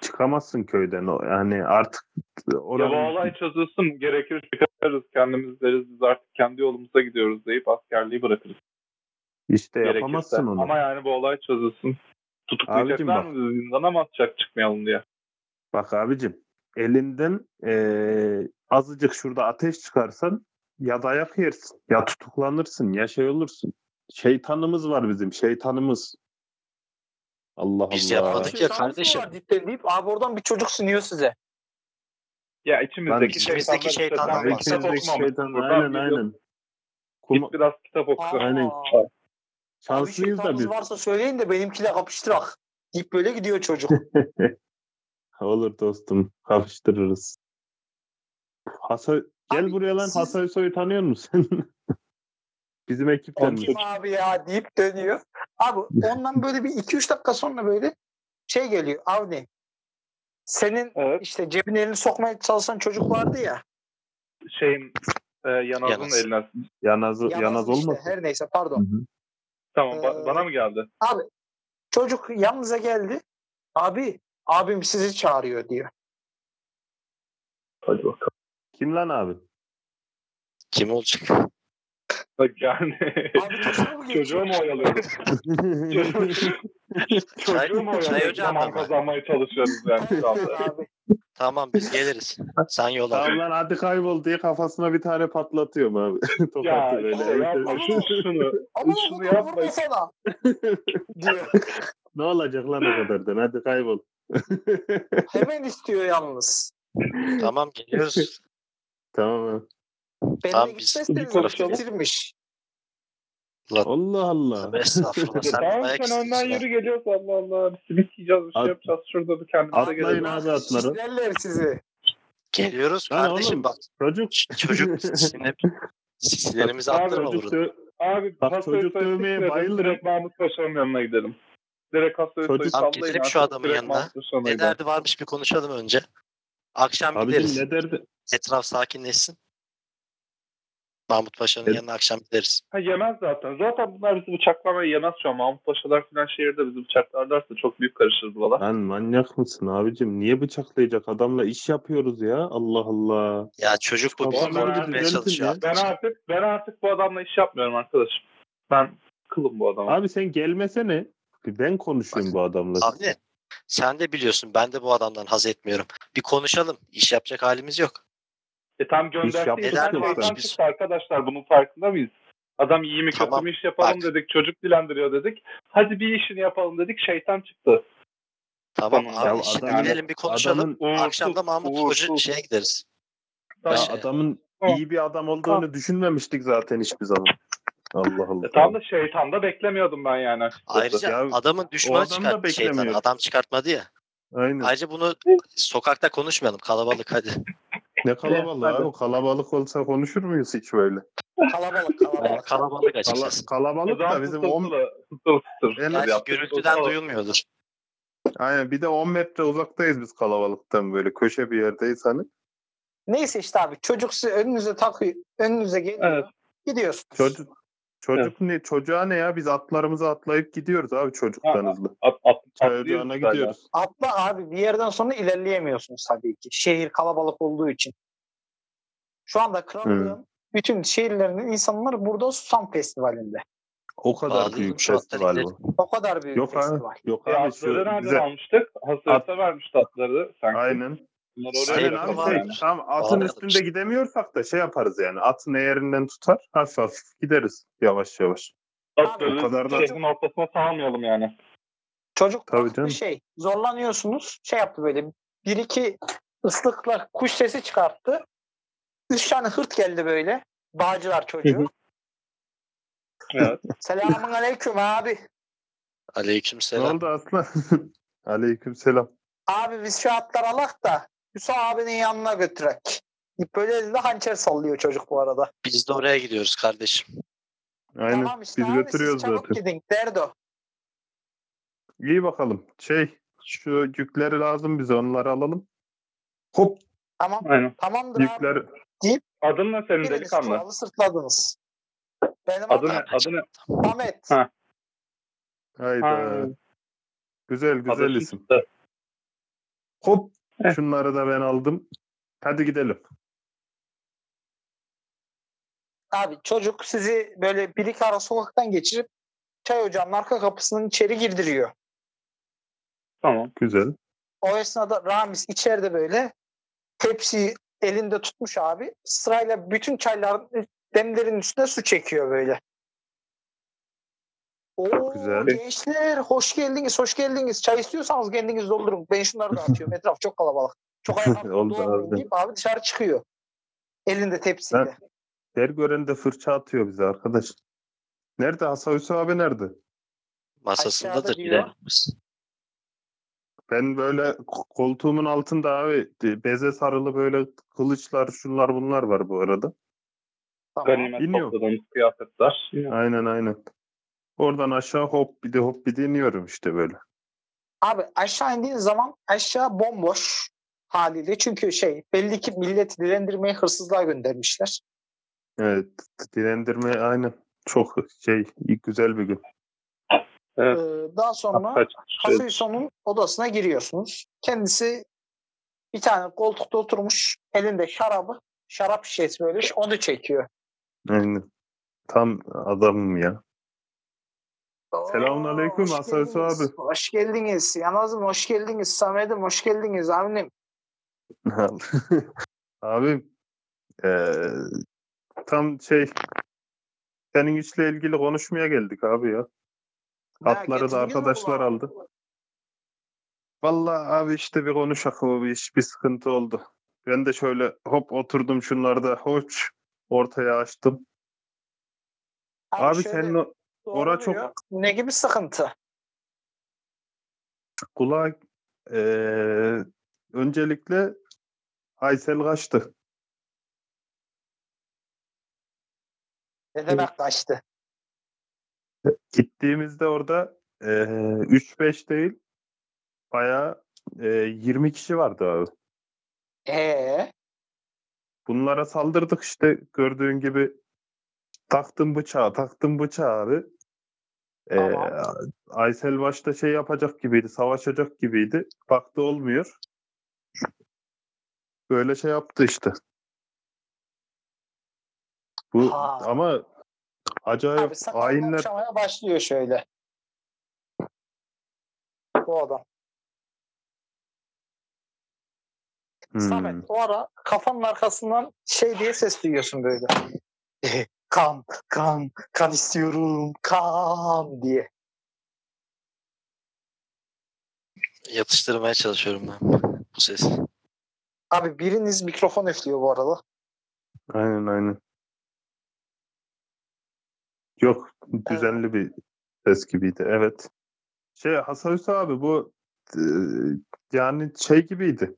Speaker 3: çıkamazsın köyden. O- Yani artık
Speaker 4: Ya bu
Speaker 3: oranın
Speaker 4: olay çözülsün gerekir çıkarız kendimiz deriz biz artık kendi yolumuza gidiyoruz deyip askerliği bırakırız.
Speaker 3: işte
Speaker 4: Gerekirse.
Speaker 3: yapamazsın onu.
Speaker 4: Ama yani bu olay çözülsün. Tutuklayacaklar
Speaker 3: Abicim
Speaker 4: mı bizi zindana mı atacak çıkmayalım diye.
Speaker 3: Bak abicim elinden ee, azıcık şurada ateş çıkarsan ya dayak yersin ya tutuklanırsın ya şey olursun. Şeytanımız var bizim şeytanımız. Allah
Speaker 5: Biz
Speaker 3: Allah.
Speaker 5: yapmadık. Peki ya
Speaker 2: Şeytanınız mı
Speaker 5: kardeşim?
Speaker 2: var dipte deyip abi oradan bir çocuk sunuyor size.
Speaker 4: Ya içimizdeki,
Speaker 3: Ben-
Speaker 4: şeytandan
Speaker 5: İçimizdeki şeytandan
Speaker 4: zaten
Speaker 5: Aynen, bahsediyoruz.
Speaker 4: kitap
Speaker 3: İçimizdeki
Speaker 4: okumamış.
Speaker 3: şeytan.
Speaker 4: Buradan
Speaker 3: Aynen
Speaker 4: bir yok.
Speaker 3: aynen. Kuma-
Speaker 4: Git biraz kitap oku.
Speaker 3: Aynen.
Speaker 2: Aa, abi
Speaker 3: Şanslıyız da
Speaker 2: şeytanınız
Speaker 3: biz.
Speaker 2: varsa söyleyin de benimkiyle kapıştırak. Deyip böyle gidiyor çocuk.
Speaker 3: Olur dostum. Kapıştırırız. Hasoy, gel
Speaker 2: Abi,
Speaker 3: buraya lan.
Speaker 2: siz-
Speaker 3: Hasoy Soy'u tanıyor musun? Bizim
Speaker 2: O
Speaker 3: ekipten
Speaker 2: kim abi ya deyip dönüyor. Abi ondan böyle bir 2-3 dakika sonra böyle şey geliyor. Avni senin
Speaker 4: Evet.
Speaker 2: işte cebine elini sokmaya çalışan çocuk vardı ya.
Speaker 4: Şeyin e, Yanaz'ın
Speaker 5: Yanaz.
Speaker 4: eline.
Speaker 3: Yanaz, yanaz,
Speaker 2: Yalnız işte,
Speaker 3: olmasın?
Speaker 2: Her neyse pardon.
Speaker 3: Hı hı.
Speaker 4: Tamam ba-
Speaker 2: Ee,
Speaker 4: bana mı geldi?
Speaker 2: Çocuk yanımıza geldi. Abi abim sizi çağırıyor diyor.
Speaker 4: Hadi bakalım.
Speaker 3: Kim lan abi?
Speaker 5: Kim olacak?
Speaker 4: Bak yani.
Speaker 2: Abi çocuğa mı geçiyor?
Speaker 4: Çocuğu mu oyalıyoruz? Çocuğu mu
Speaker 5: Çay- çay
Speaker 4: oyalıyoruz?
Speaker 5: ocağında
Speaker 4: Zaman
Speaker 5: mı?
Speaker 4: kazanmaya çalışıyoruz yani şu
Speaker 2: Evet
Speaker 4: anda.
Speaker 2: abi.
Speaker 5: Tamam biz geliriz. Sen yola.
Speaker 3: tamam lan hadi kaybol diye kafasına bir tane patlatıyorum abi. Tokatı
Speaker 4: Ya
Speaker 3: böyle.
Speaker 4: işte şey yapma
Speaker 3: Evet.
Speaker 4: şunu. şunu.
Speaker 2: Ama
Speaker 4: Şunu
Speaker 2: bunu
Speaker 4: yapma.
Speaker 2: vurma sana. diyor.
Speaker 3: ne olacak lan o kadardan hadi kaybol.
Speaker 2: Hemen istiyor yalnız.
Speaker 5: Tamam geliyoruz.
Speaker 3: tamam abi.
Speaker 2: Benimle
Speaker 5: Tamam, biz-
Speaker 2: gitmezseniz
Speaker 4: Bir
Speaker 2: bu
Speaker 4: konuşalım.
Speaker 2: bitirmiş.
Speaker 3: Allah Allah.
Speaker 5: Tövbe Estağfurullah.
Speaker 4: Ya
Speaker 5: Sen
Speaker 4: tamam
Speaker 5: dayak
Speaker 4: sen önden
Speaker 5: istiyorsun.
Speaker 4: yürü geliyoruz Allah Allah. Biz simit yiyeceğiz bir şey
Speaker 3: At-
Speaker 4: yapacağız. Şurada bir kendimize
Speaker 3: Atlayın
Speaker 4: gelelim.
Speaker 3: abi atları.
Speaker 2: İzlerler sizi.
Speaker 5: Geliyoruz
Speaker 3: Lan
Speaker 5: kardeşim
Speaker 3: oğlum.
Speaker 5: bak.
Speaker 3: Çocuk.
Speaker 5: ç- Çocuk sinirlenip sinirimizi
Speaker 4: Abi
Speaker 5: attırma
Speaker 3: çocuk
Speaker 5: burada.
Speaker 3: dö-
Speaker 4: Abi
Speaker 3: Bak,
Speaker 4: Hasoy
Speaker 3: çocuk
Speaker 4: Soy'u
Speaker 3: dövmeye
Speaker 4: siktirelim,
Speaker 3: bayılırım.
Speaker 4: Direkt Mahmut Paşa'nın yanına gidelim. Direkt Hasoy Soy'u
Speaker 3: Çocuk-
Speaker 5: Abi
Speaker 4: sallayın.
Speaker 5: gidelim
Speaker 4: abi,
Speaker 5: şu adamın
Speaker 4: direkt
Speaker 5: yanına.
Speaker 4: Mahmut Paşa'nın
Speaker 5: Ne
Speaker 4: yanına.
Speaker 5: derdi varmış bir konuşalım önce. Akşam gideriz.
Speaker 3: Abicim ne derdi?
Speaker 5: Etraf sakinleşsin. Mahmut Paşa'nın
Speaker 3: Evet.
Speaker 5: yanına akşam gideriz.
Speaker 4: Ha yemez zaten. Zaten bunlar bizi bıçaklamayı yemez şu an. Mahmut Paşalar falan şehirde bizi bıçaklarlarsa çok büyük karışırız valla.
Speaker 3: Lan manyak mısın abicim? Niye bıçaklayacak adamla iş yapıyoruz ya? Allah Allah.
Speaker 5: Ya çocuk bu bizi
Speaker 4: Kafalarını bir
Speaker 5: korkutmaya
Speaker 3: düzeltin ya.
Speaker 5: çalışıyor.
Speaker 4: Ben artık ben artık bu adamla iş yapmıyorum arkadaşım. Ben kılım bu adama.
Speaker 3: Abi sen gelmesene. Bir ben konuşayım bu adamla.
Speaker 5: Abi sen de biliyorsun ben de bu adamdan haz etmiyorum. Bir konuşalım. İş yapacak halimiz yok.
Speaker 4: E tam gönderdiği
Speaker 3: yaptık
Speaker 4: insan
Speaker 5: zaten.
Speaker 4: şeytan
Speaker 5: Biz-
Speaker 4: çıktı arkadaşlar. Bunun farkında mıyız? Adam iyi mi kötü
Speaker 5: Tamam,
Speaker 4: mü iş yapalım
Speaker 5: bak.
Speaker 4: dedik. Çocuk dilendiriyor dedik. Hadi bir işini yapalım dedik. Şeytan çıktı.
Speaker 5: Tamam
Speaker 4: Tamam.
Speaker 5: abi
Speaker 3: Ya
Speaker 5: şimdi
Speaker 3: adamın-
Speaker 5: gidelim bir konuşalım.
Speaker 3: adamın-
Speaker 4: Uğursuz,
Speaker 5: Akşam da Mahmut
Speaker 4: uğursuz.
Speaker 5: Hoca şeye gideriz.
Speaker 3: Ya
Speaker 5: Başa-
Speaker 3: adamın
Speaker 4: Tamam.
Speaker 3: iyi bir adam olduğunu düşünmemiştik zaten hiçbir zaman. Allah Allah.
Speaker 4: E, tam da şeytanda beklemiyordum ben yani açıkçası.
Speaker 5: Ayrıca
Speaker 3: Ya,
Speaker 5: adamın düşmanı
Speaker 3: adam da
Speaker 5: çıkarttı şeytanı.
Speaker 3: beklemiyor.
Speaker 5: Adam çıkartmadı ya.
Speaker 3: Aynen.
Speaker 5: Ayrıca bunu sokakta konuşmayalım. Kalabalık hadi.
Speaker 3: Ne kalabalığı
Speaker 4: Hadi.
Speaker 3: abi. Kalabalık olsa konuşur muyuz hiç böyle?
Speaker 2: Kalabalık
Speaker 5: Ama
Speaker 2: kalabalık.
Speaker 5: kalabalık
Speaker 3: Kala,
Speaker 5: açıkçası.
Speaker 3: kalabalık
Speaker 4: Adam
Speaker 3: da bizim
Speaker 4: fısıltılı,
Speaker 3: 10
Speaker 4: fısıltılı, fısıltılı
Speaker 3: En-
Speaker 5: Gerçi
Speaker 4: yaptı.
Speaker 5: gürültüden
Speaker 4: Fısıltılı.
Speaker 5: duyulmuyordur.
Speaker 3: aynen bir de 10 metre uzaktayız biz kalabalıktan böyle köşe bir yerdeyiz hani.
Speaker 2: Neyse işte abi çocuk sizi önünüze takıyor. Önünüze geliyor.
Speaker 4: Evet.
Speaker 2: Gidiyorsunuz.
Speaker 3: Çocuk çocuk ne çocuğa ne ya biz atlarımıza atlayıp gidiyoruz abi çocuktan
Speaker 4: Ha,
Speaker 3: hızlı.
Speaker 4: At, at, atlıyoruz
Speaker 3: Çocuğuna
Speaker 4: zaten.
Speaker 3: gidiyoruz.
Speaker 2: Atla abi bir yerden sonra ilerleyemiyorsunuz tabii ki. Şehir kalabalık olduğu için. Şu anda krallığın bütün şehirlerinin insanları burada Susam Festivali'nde.
Speaker 3: O kadar
Speaker 5: Bağlayalım
Speaker 3: büyük
Speaker 5: şu atları
Speaker 3: festival bu.
Speaker 2: O kadar büyük
Speaker 3: Yok abi,
Speaker 2: festival.
Speaker 3: yok
Speaker 4: E,
Speaker 3: abi
Speaker 4: atları
Speaker 3: şu
Speaker 4: nereden
Speaker 3: bize
Speaker 4: almıştık? Hazırsa
Speaker 3: At-
Speaker 4: vermiş tatları sanki.
Speaker 3: aynen.
Speaker 4: Bunları
Speaker 5: Sayın
Speaker 4: oraya
Speaker 3: Aynen
Speaker 5: Sayın
Speaker 3: abi
Speaker 4: bırakalım
Speaker 5: Bakan
Speaker 3: şey,
Speaker 4: yani.
Speaker 5: varmış.
Speaker 3: tam atın
Speaker 5: Bağlayalım
Speaker 3: üstünde
Speaker 5: işte.
Speaker 3: gidemiyorsak da şey yaparız yani. Atın eğerinden tutar hafif hafif gideriz yavaş yavaş.
Speaker 4: Atları
Speaker 3: O kadar da-
Speaker 4: şehrin ortasına salmayalım yani.
Speaker 2: Çocuk
Speaker 3: Tabii
Speaker 2: baktı
Speaker 3: canım.
Speaker 2: şey zorlanıyorsunuz. Şey yaptı böyle bir iki ıslıkla kuş sesi çıkarttı. Üç tane hırt geldi böyle. Bağcılar çocuğu.
Speaker 4: Evet.
Speaker 2: Selamun aleyküm abi.
Speaker 5: Aleykümselam.
Speaker 3: Ne oldu aslan? Aleyküm selam.
Speaker 2: Abi biz şu atlar alak da Yusuf abinin yanına götürek. Böyle elinde hançer sallıyor çocuk bu arada.
Speaker 5: Biz de oraya gidiyoruz kardeşim.
Speaker 3: Aynen.
Speaker 2: Tamam işte
Speaker 3: Biz
Speaker 2: abi
Speaker 3: götürüyoruz
Speaker 2: siz çabuk
Speaker 3: zaten.
Speaker 2: gidin. Derdo.
Speaker 3: İyi bakalım. Şey şu yükleri lazım bize onları alalım. Hop
Speaker 2: Tamam.
Speaker 4: Aynen.
Speaker 2: Tamamdır abi.
Speaker 3: yükler
Speaker 4: Adın ne senin
Speaker 2: Biriniz
Speaker 4: delikanlı?
Speaker 2: kuralı sırtladınız. Benim adım
Speaker 4: Adın ne? Adın ne?
Speaker 2: Samet.
Speaker 4: Ha.
Speaker 3: hayda.
Speaker 4: Ha.
Speaker 3: Güzel güzel
Speaker 4: Adın
Speaker 3: isim.
Speaker 4: çıktı.
Speaker 3: Hop
Speaker 4: Heh.
Speaker 3: şunları da ben aldım. Hadi gidelim.
Speaker 2: Abi çocuk sizi böyle bir iki ara sokaktan geçirip çay ocağının arka kapısının içeri girdiriyor.
Speaker 4: Tamam.
Speaker 3: Güzel.
Speaker 2: O esnada Ramiz içeride böyle tepsiyi elinde tutmuş abi. Sırayla bütün çayların demlerin üstüne su çekiyor böyle. Oo,
Speaker 3: güzel.
Speaker 2: gençler hoş geldiniz hoş geldiniz. Çay istiyorsanız kendiniz doldurun. Ben şunları da atıyorum. Etraf çok kalabalık. Çok ayak
Speaker 3: Oldu
Speaker 2: doğmayayım
Speaker 3: abi.
Speaker 2: deyip abi dışarı çıkıyor. Elinde tepsiyle.
Speaker 3: Ha. Her gören de fırça atıyor bize arkadaş. Nerede Hasan Hüsnü abi nerede?
Speaker 5: Masasındadır
Speaker 2: Aşağıda
Speaker 5: bile.
Speaker 2: diyor.
Speaker 3: Ben böyle ko- koltuğumun altında abi e, beze sarılı böyle kılıçlar şunlar bunlar var bu arada.
Speaker 2: Tamam.
Speaker 4: Ganimet
Speaker 3: Bilmiyorum.
Speaker 4: topladığımız kıyafetler.
Speaker 3: Aynen aynen. Oradan aşağı hop bir de hop bir de iniyorum işte böyle.
Speaker 2: Abi aşağı indiğin zaman aşağı bomboş haliyle. Çünkü şey belli ki milleti dilendirmeye hırsızlığa göndermişler.
Speaker 3: Evet, dilendirme aynen. Çok şey güzel bir gün.
Speaker 2: Ee, daha sonra
Speaker 4: Hatta çıkmış.
Speaker 2: Hasuyso'nun odasına giriyorsunuz. Kendisi bir tane koltukta oturmuş. Elinde şarabı, şarap şişesi böyle onu çekiyor.
Speaker 3: Aynen. Tam adamım ya. Selamünaleyküm
Speaker 2: Oo, hoş
Speaker 3: Hasan Hüsnü
Speaker 2: geldiniz.
Speaker 3: abi.
Speaker 2: Hoş geldiniz. Yanazım hoş geldiniz. Samet'im hoş geldiniz. Aminim.
Speaker 3: Abim eee, e, tam şey senin işle ilgili konuşmaya geldik abi ya. Atları da arkadaşlar aldı. Vallahi abi işte bir konuşak o bir iş bir sıkıntı oldu. Ben de şöyle hop oturdum şunlarda hoç ortaya açtım. Abi, senin o- ora çok-
Speaker 2: Ne gibi sıkıntı?
Speaker 3: kulağa eee, öncelikle Aysel kaçtı.
Speaker 2: Ne demek kaçtı?
Speaker 3: Gittiğimizde orada eee, 3-5 değil bayağı eee, 20 kişi vardı abi.
Speaker 2: Ee,
Speaker 3: Bunlara saldırdık işte gördüğün gibi taktım bıçağı taktım bıçağı abi. Ee,
Speaker 2: Tamam.
Speaker 3: Aysel başta şey yapacak gibiydi savaşacak gibiydi. Baktı olmuyor. Böyle şey yaptı işte. Bu
Speaker 2: Ha.
Speaker 3: ama
Speaker 2: abi
Speaker 3: acayip
Speaker 2: sakalını
Speaker 3: hainler
Speaker 2: okşamaya başlıyor şöyle. Bu adam.
Speaker 3: Hmm.
Speaker 2: Samet o ara kafanın arkasından şey diye ses duyuyorsun böyle. E, kan, kan, kan istiyorum, kan diye.
Speaker 5: Yatıştırmaya çalışıyorum ben bu sesi.
Speaker 2: Abi biriniz mikrofon üflüyor bu arada.
Speaker 3: Aynen aynen. Yok düzenli bir ses gibiydi evet. Şey Hasan Hüsnü abi bu e, yani şey gibiydi.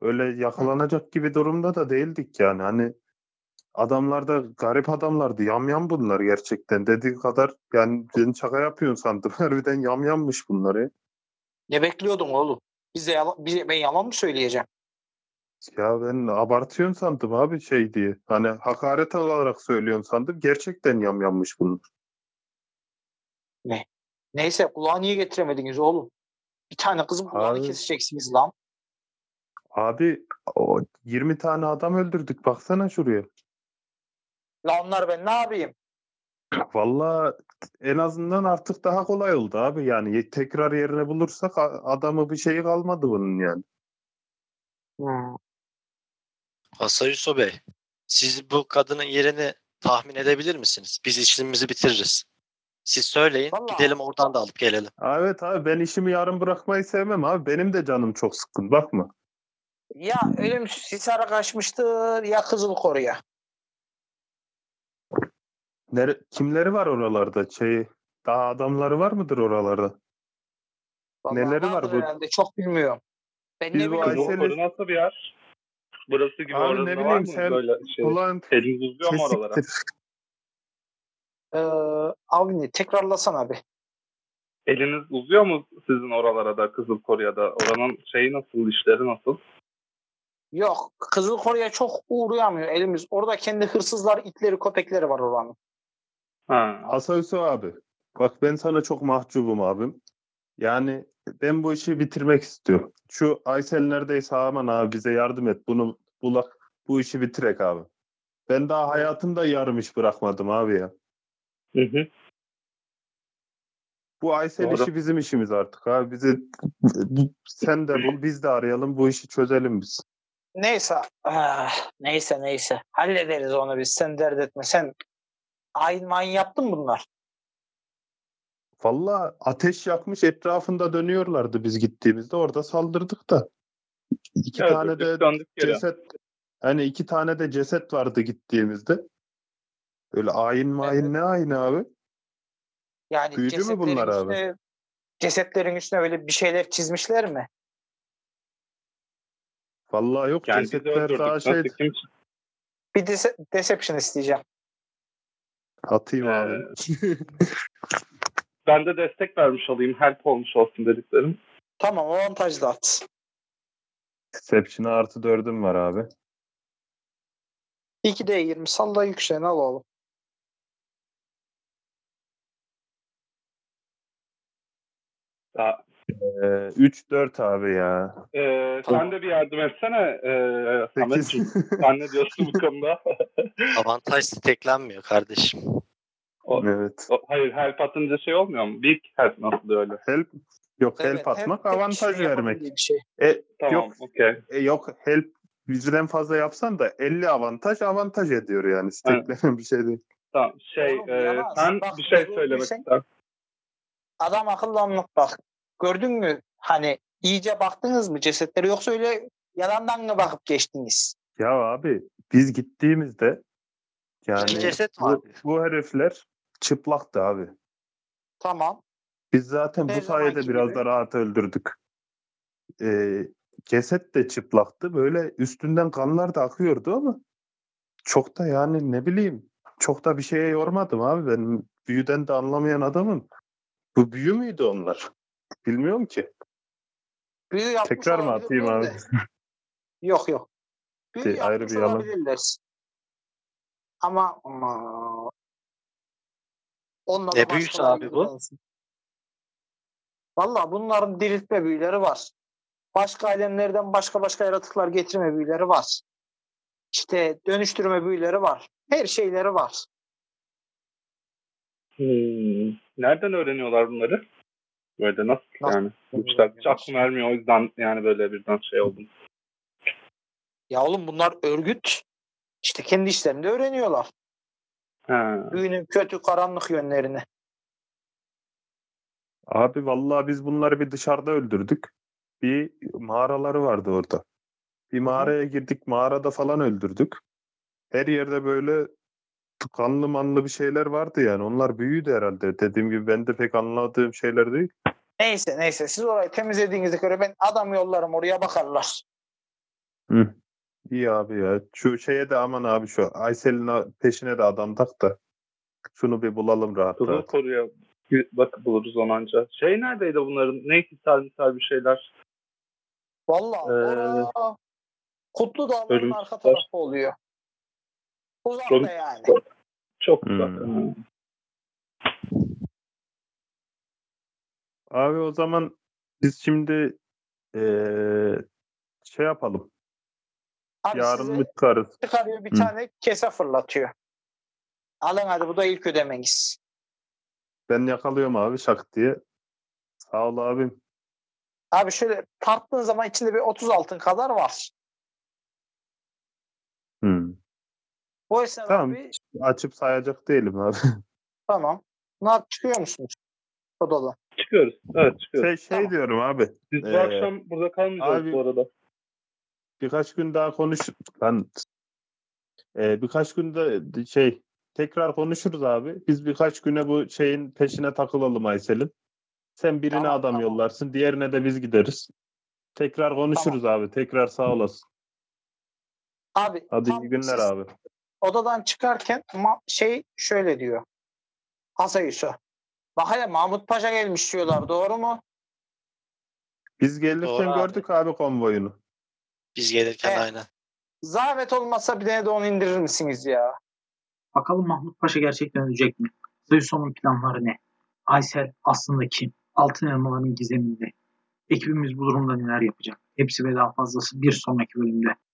Speaker 3: Öyle yakalanacak gibi durumda da değildik yani. Hani adamlar da garip adamlardı. Yamyam bunlar gerçekten. Dediği kadar yani ben şaka yapıyorsun sandım. Harbiden yamyammış bunlar ya.
Speaker 2: Ne bekliyordun oğlum? Biz de yalan, biz- ben yalan mı söyleyeceğim?
Speaker 3: Ya ben abartıyorsun sandım abi şey diye. Hani hakaret olarak söylüyorsun sandım. Gerçekten yamyammış bunlar.
Speaker 2: Neyse kulağı niye getiremediniz oğlum? Bir tane kızın kulağını
Speaker 3: Abi.
Speaker 2: keseceksiniz lan.
Speaker 3: Abi o 20 tane adam öldürdük baksana şuraya.
Speaker 2: La onlar ben ne yapayım?
Speaker 3: Valla en azından artık daha kolay oldu abi. Yani ye- tekrar yerine bulursak a- adamı bir şeyi kalmadı bunun yani.
Speaker 2: Hmm.
Speaker 5: Hasayuso Bey, siz bu kadının yerini tahmin edebilir misiniz? Biz işimizi bitiririz. Siz söyleyin,
Speaker 2: Vallahi-
Speaker 5: gidelim oradan da alıp gelelim.
Speaker 3: Aa, Evet abi ben işimi yarım bırakmayı sevmem abi. Benim de canım çok sıkkın bakma.
Speaker 2: Ya ölümsüz Hisar'a kaçmıştır ya Kızıl Koru'ya.
Speaker 3: Nere- kimleri var oralarda? Şey, daha adamları var mıdır oralarda?
Speaker 2: Vallahi
Speaker 3: Neleri var
Speaker 2: vardır
Speaker 3: bu?
Speaker 2: Herhalde, çok bilmiyorum. Ben
Speaker 3: Biz
Speaker 2: ne
Speaker 3: bu
Speaker 2: bileyim.
Speaker 3: Aysel'i-
Speaker 4: Kızılkoru nasıl bir yer? Burası gibi
Speaker 3: Abi
Speaker 4: orada
Speaker 3: ne
Speaker 4: var
Speaker 3: bileyim
Speaker 4: mı
Speaker 3: sen-
Speaker 4: böyle şey?
Speaker 3: Ulan
Speaker 4: Eliniz uzuyor mu oralara?
Speaker 3: kesiktir.
Speaker 2: Ee, Avni tekrarlasana bir.
Speaker 4: Eliniz uzuyor mu sizin oralara da Kızılkoru'ya da? Oranın şeyi nasıl, işleri nasıl?
Speaker 2: Yok Kızıl Koru'ya çok uğrayamıyor elimiz. Orada kendi hırsızlar, itleri, köpekleri var oranın.
Speaker 4: Ha.
Speaker 3: Hasan Hüsnü abi. Bak ben sana çok mahcubum abim. Yani ben bu işi bitirmek istiyorum. Şu Aysel neredeyse aman abi bize yardım et. Bunu bulak. Bu işi bitirek abi. Ben daha hayatımda yarım iş bırakmadım abi ya.
Speaker 4: Hı hı.
Speaker 3: Bu Aysel
Speaker 4: Doğru.
Speaker 3: işi bizim işimiz artık abi. Bizi sen de bul biz de arayalım bu işi çözelim biz.
Speaker 2: Neyse. ah, neyse neyse. Hallederiz onu biz. Sen dert etme. Sen ayin mayin yaptın bunlar.
Speaker 3: Vallahi ateş yakmış etrafında dönüyorlardı biz gittiğimizde orada saldırdık da. İki
Speaker 4: Evet,
Speaker 3: tane de
Speaker 4: öldük, döndük geri.
Speaker 3: ceset hani iki tane de ceset vardı gittiğimizde. Öyle ayin mayin
Speaker 2: Evet.
Speaker 3: ne ayin abi?
Speaker 2: Yani
Speaker 3: Büyücü mü
Speaker 2: cesetlerin
Speaker 3: bunlar abi?
Speaker 2: üstüne, cesetlerin üstüne öyle bir şeyler çizmişler mi?
Speaker 3: Vallahi yok
Speaker 4: Yani bizi
Speaker 3: cesetler
Speaker 4: öldürdük.
Speaker 3: daha
Speaker 4: Nasıl
Speaker 3: şey
Speaker 4: kim
Speaker 2: Bir dece- deception isteyeceğim.
Speaker 4: Ee,
Speaker 3: atayım abi.
Speaker 4: ben de destek vermiş olayım. Help olmuş olsun dediklerim.
Speaker 2: Tamam avantajlı at.
Speaker 3: Deception'a artı dördüm var abi.
Speaker 2: 2D20 salla yükseleni al oğlum.
Speaker 4: Daha,
Speaker 3: Ee, 3-4 abi ya.
Speaker 4: Ee,
Speaker 5: Tamam.
Speaker 4: Sen de bir yardım etsene. Ee, Ahmetciğim.
Speaker 3: 8.
Speaker 4: sen ne diyorsun bu konuda?
Speaker 5: Avantaj steklenmiyor kardeşim.
Speaker 4: O-
Speaker 3: evet.
Speaker 4: o- Hayır help atınca şey olmuyor mu? Big help nasıl öyle?
Speaker 3: Help yok
Speaker 2: Evet,
Speaker 3: help atmak
Speaker 2: her- her
Speaker 3: avantaj
Speaker 2: kişinin
Speaker 3: vermek.
Speaker 2: yapabildiği bir şey.
Speaker 3: E,
Speaker 4: Tamam
Speaker 3: Yok.
Speaker 4: okey.
Speaker 3: e, yok help bizden fazla yapsan da 50 avantaj avantaj ediyor yani steklenen bir şey değil.
Speaker 4: Tamam. Şey,
Speaker 2: Oğlum,
Speaker 4: e,
Speaker 2: yalan.
Speaker 4: sen
Speaker 2: Bak,
Speaker 4: bir şey
Speaker 2: bunu
Speaker 4: söylemek
Speaker 2: sen-
Speaker 4: ister.
Speaker 2: Adam akıllı anlat bak. Gördün mü? Hani iyice baktınız mı cesetlere yoksa öyle yalandan mı bakıp geçtiniz?
Speaker 3: Ya abi biz gittiğimizde
Speaker 5: İki
Speaker 3: yani
Speaker 5: ceset
Speaker 3: bu,
Speaker 5: vardı.
Speaker 3: bu herifler çıplaktı abi.
Speaker 2: Tamam.
Speaker 3: Biz zaten
Speaker 2: Her
Speaker 3: bu sayede
Speaker 2: zamanki
Speaker 3: biraz
Speaker 2: gibi.
Speaker 3: da rahat öldürdük. Ee, ceset de çıplaktı. Böyle üstünden kanlar da akıyordu ama çok da yani ne bileyim çok da bir şeye yormadım abi ben büyüden de anlamayan adamım. Bu büyü müydü onlar? Bilmiyorum ki.
Speaker 2: Büyü yapmış
Speaker 3: Tekrar mı
Speaker 2: olabilirler
Speaker 3: atayım abi?
Speaker 2: de. Yok yok. Büyü
Speaker 3: De- ayrı
Speaker 2: yapmış
Speaker 3: bir yalan.
Speaker 2: olabilirler. Ama ama onunla da
Speaker 5: Ne büyüsü
Speaker 2: başkaları
Speaker 5: abi bu?
Speaker 2: ilgilensin. Valla bunların diriltme büyüleri var. Başka alemlerden başka başka yaratıklar getirme büyüleri var. İşte dönüştürme büyüleri var. Her şeyleri var.
Speaker 4: Hmm. Nereden öğreniyorlar bunları? Böyle nasıl,
Speaker 2: Nasıl
Speaker 4: yani? Bu işler hiç aklıma ermiyor. O yüzden yani böyle birden şey oldum.
Speaker 2: Ya oğlum bunlar örgüt. İşte kendi işlerinde öğreniyorlar.
Speaker 4: Ha.
Speaker 2: Büyünün kötü karanlık yönlerini.
Speaker 3: Abi vallahi biz bunları bir dışarıda öldürdük. Bir mağaraları vardı orada. Bir mağaraya girdik, mağarada falan öldürdük. Her yerde böyle kanlı manlı bir şeyler vardı yani. Onlar büyüydü herhalde. Dediğim gibi ben de pek anladığım şeyler değil.
Speaker 2: Neyse neyse siz orayı temizlediğinize göre ben adam yollarım oraya bakarlar.
Speaker 3: İyi abi ya. Şu şeye de aman abi şu Aysel'in a- peşine de adam tak da şunu bir bulalım rahat
Speaker 4: Kızıl
Speaker 3: rahat.
Speaker 4: koruya bir bak buluruz onu anca. Şey neredeydi bunların? Neyse misal misal bir şeyler.
Speaker 2: Vallahi
Speaker 4: Ee,
Speaker 2: ora Kutlu Dağlar'ın
Speaker 4: Ölümsüzler.
Speaker 2: arka tarafı oluyor. Uzakta
Speaker 4: Ölümsüzler.
Speaker 2: yani.
Speaker 4: Çok
Speaker 3: Hmm.
Speaker 4: güzel.
Speaker 3: Abi o zaman biz şimdi eee, şey yapalım.
Speaker 2: Abi
Speaker 3: Yarın
Speaker 2: size
Speaker 3: mı çıkarız?
Speaker 2: çıkarıyor bir
Speaker 3: Hı.
Speaker 2: tane kese fırlatıyor. Alın hadi bu da ilk ödemeniz.
Speaker 3: Ben yakalıyorum abi şak diye. Sağ ol abim.
Speaker 2: Abi şöyle tarttığın zaman içinde bir 30 altın kadar var.
Speaker 3: Hmm.
Speaker 2: Bu esnada
Speaker 3: Tamam.
Speaker 2: abi
Speaker 3: Açıp sayacak değilim abi.
Speaker 2: tamam. Ne yap- çıkıyor musunuz? Odadan.
Speaker 4: Çıkıyoruz. Evet çıkıyoruz.
Speaker 3: Şey, şey
Speaker 2: Tamam.
Speaker 3: diyorum abi.
Speaker 4: Biz bu
Speaker 3: Ee,
Speaker 4: akşam burada kalmayacağız
Speaker 3: abi-
Speaker 4: bu arada.
Speaker 3: Birkaç gün daha konuş. Ben Ee, birkaç günde şey tekrar konuşuruz abi. Biz birkaç güne bu şeyin peşine takılalım Aysel'in. Sen birine
Speaker 2: Tamam,
Speaker 3: adam
Speaker 2: tamam.
Speaker 3: yollarsın, diğerine de biz gideriz. Tekrar konuşuruz abi. Tekrar sağ olasın.
Speaker 2: Abi
Speaker 3: Hadi
Speaker 2: tam
Speaker 3: iyi günler
Speaker 2: siz
Speaker 3: abi.
Speaker 2: odadan çıkarken ma- şey şöyle diyor. Asayüsü. Bak hele Mahmut Paşa gelmiş diyorlar doğru mu?
Speaker 3: Biz gelirken
Speaker 5: Doğru abi.
Speaker 3: gördük abi konvoyunu.
Speaker 5: Biz gelirken
Speaker 2: Evet.
Speaker 5: aynen.
Speaker 2: Zahmet olmasa bir tane de onu indirir misiniz ya?
Speaker 1: Bakalım Mahmut Paşa gerçekten ölecek mi? Zeyso'nun planları ne? Aysel aslında kim? Altın elmaların gizeminde. Ekibimiz bu durumda neler yapacak? Hepsi ve daha fazlası bir sonraki bölümde.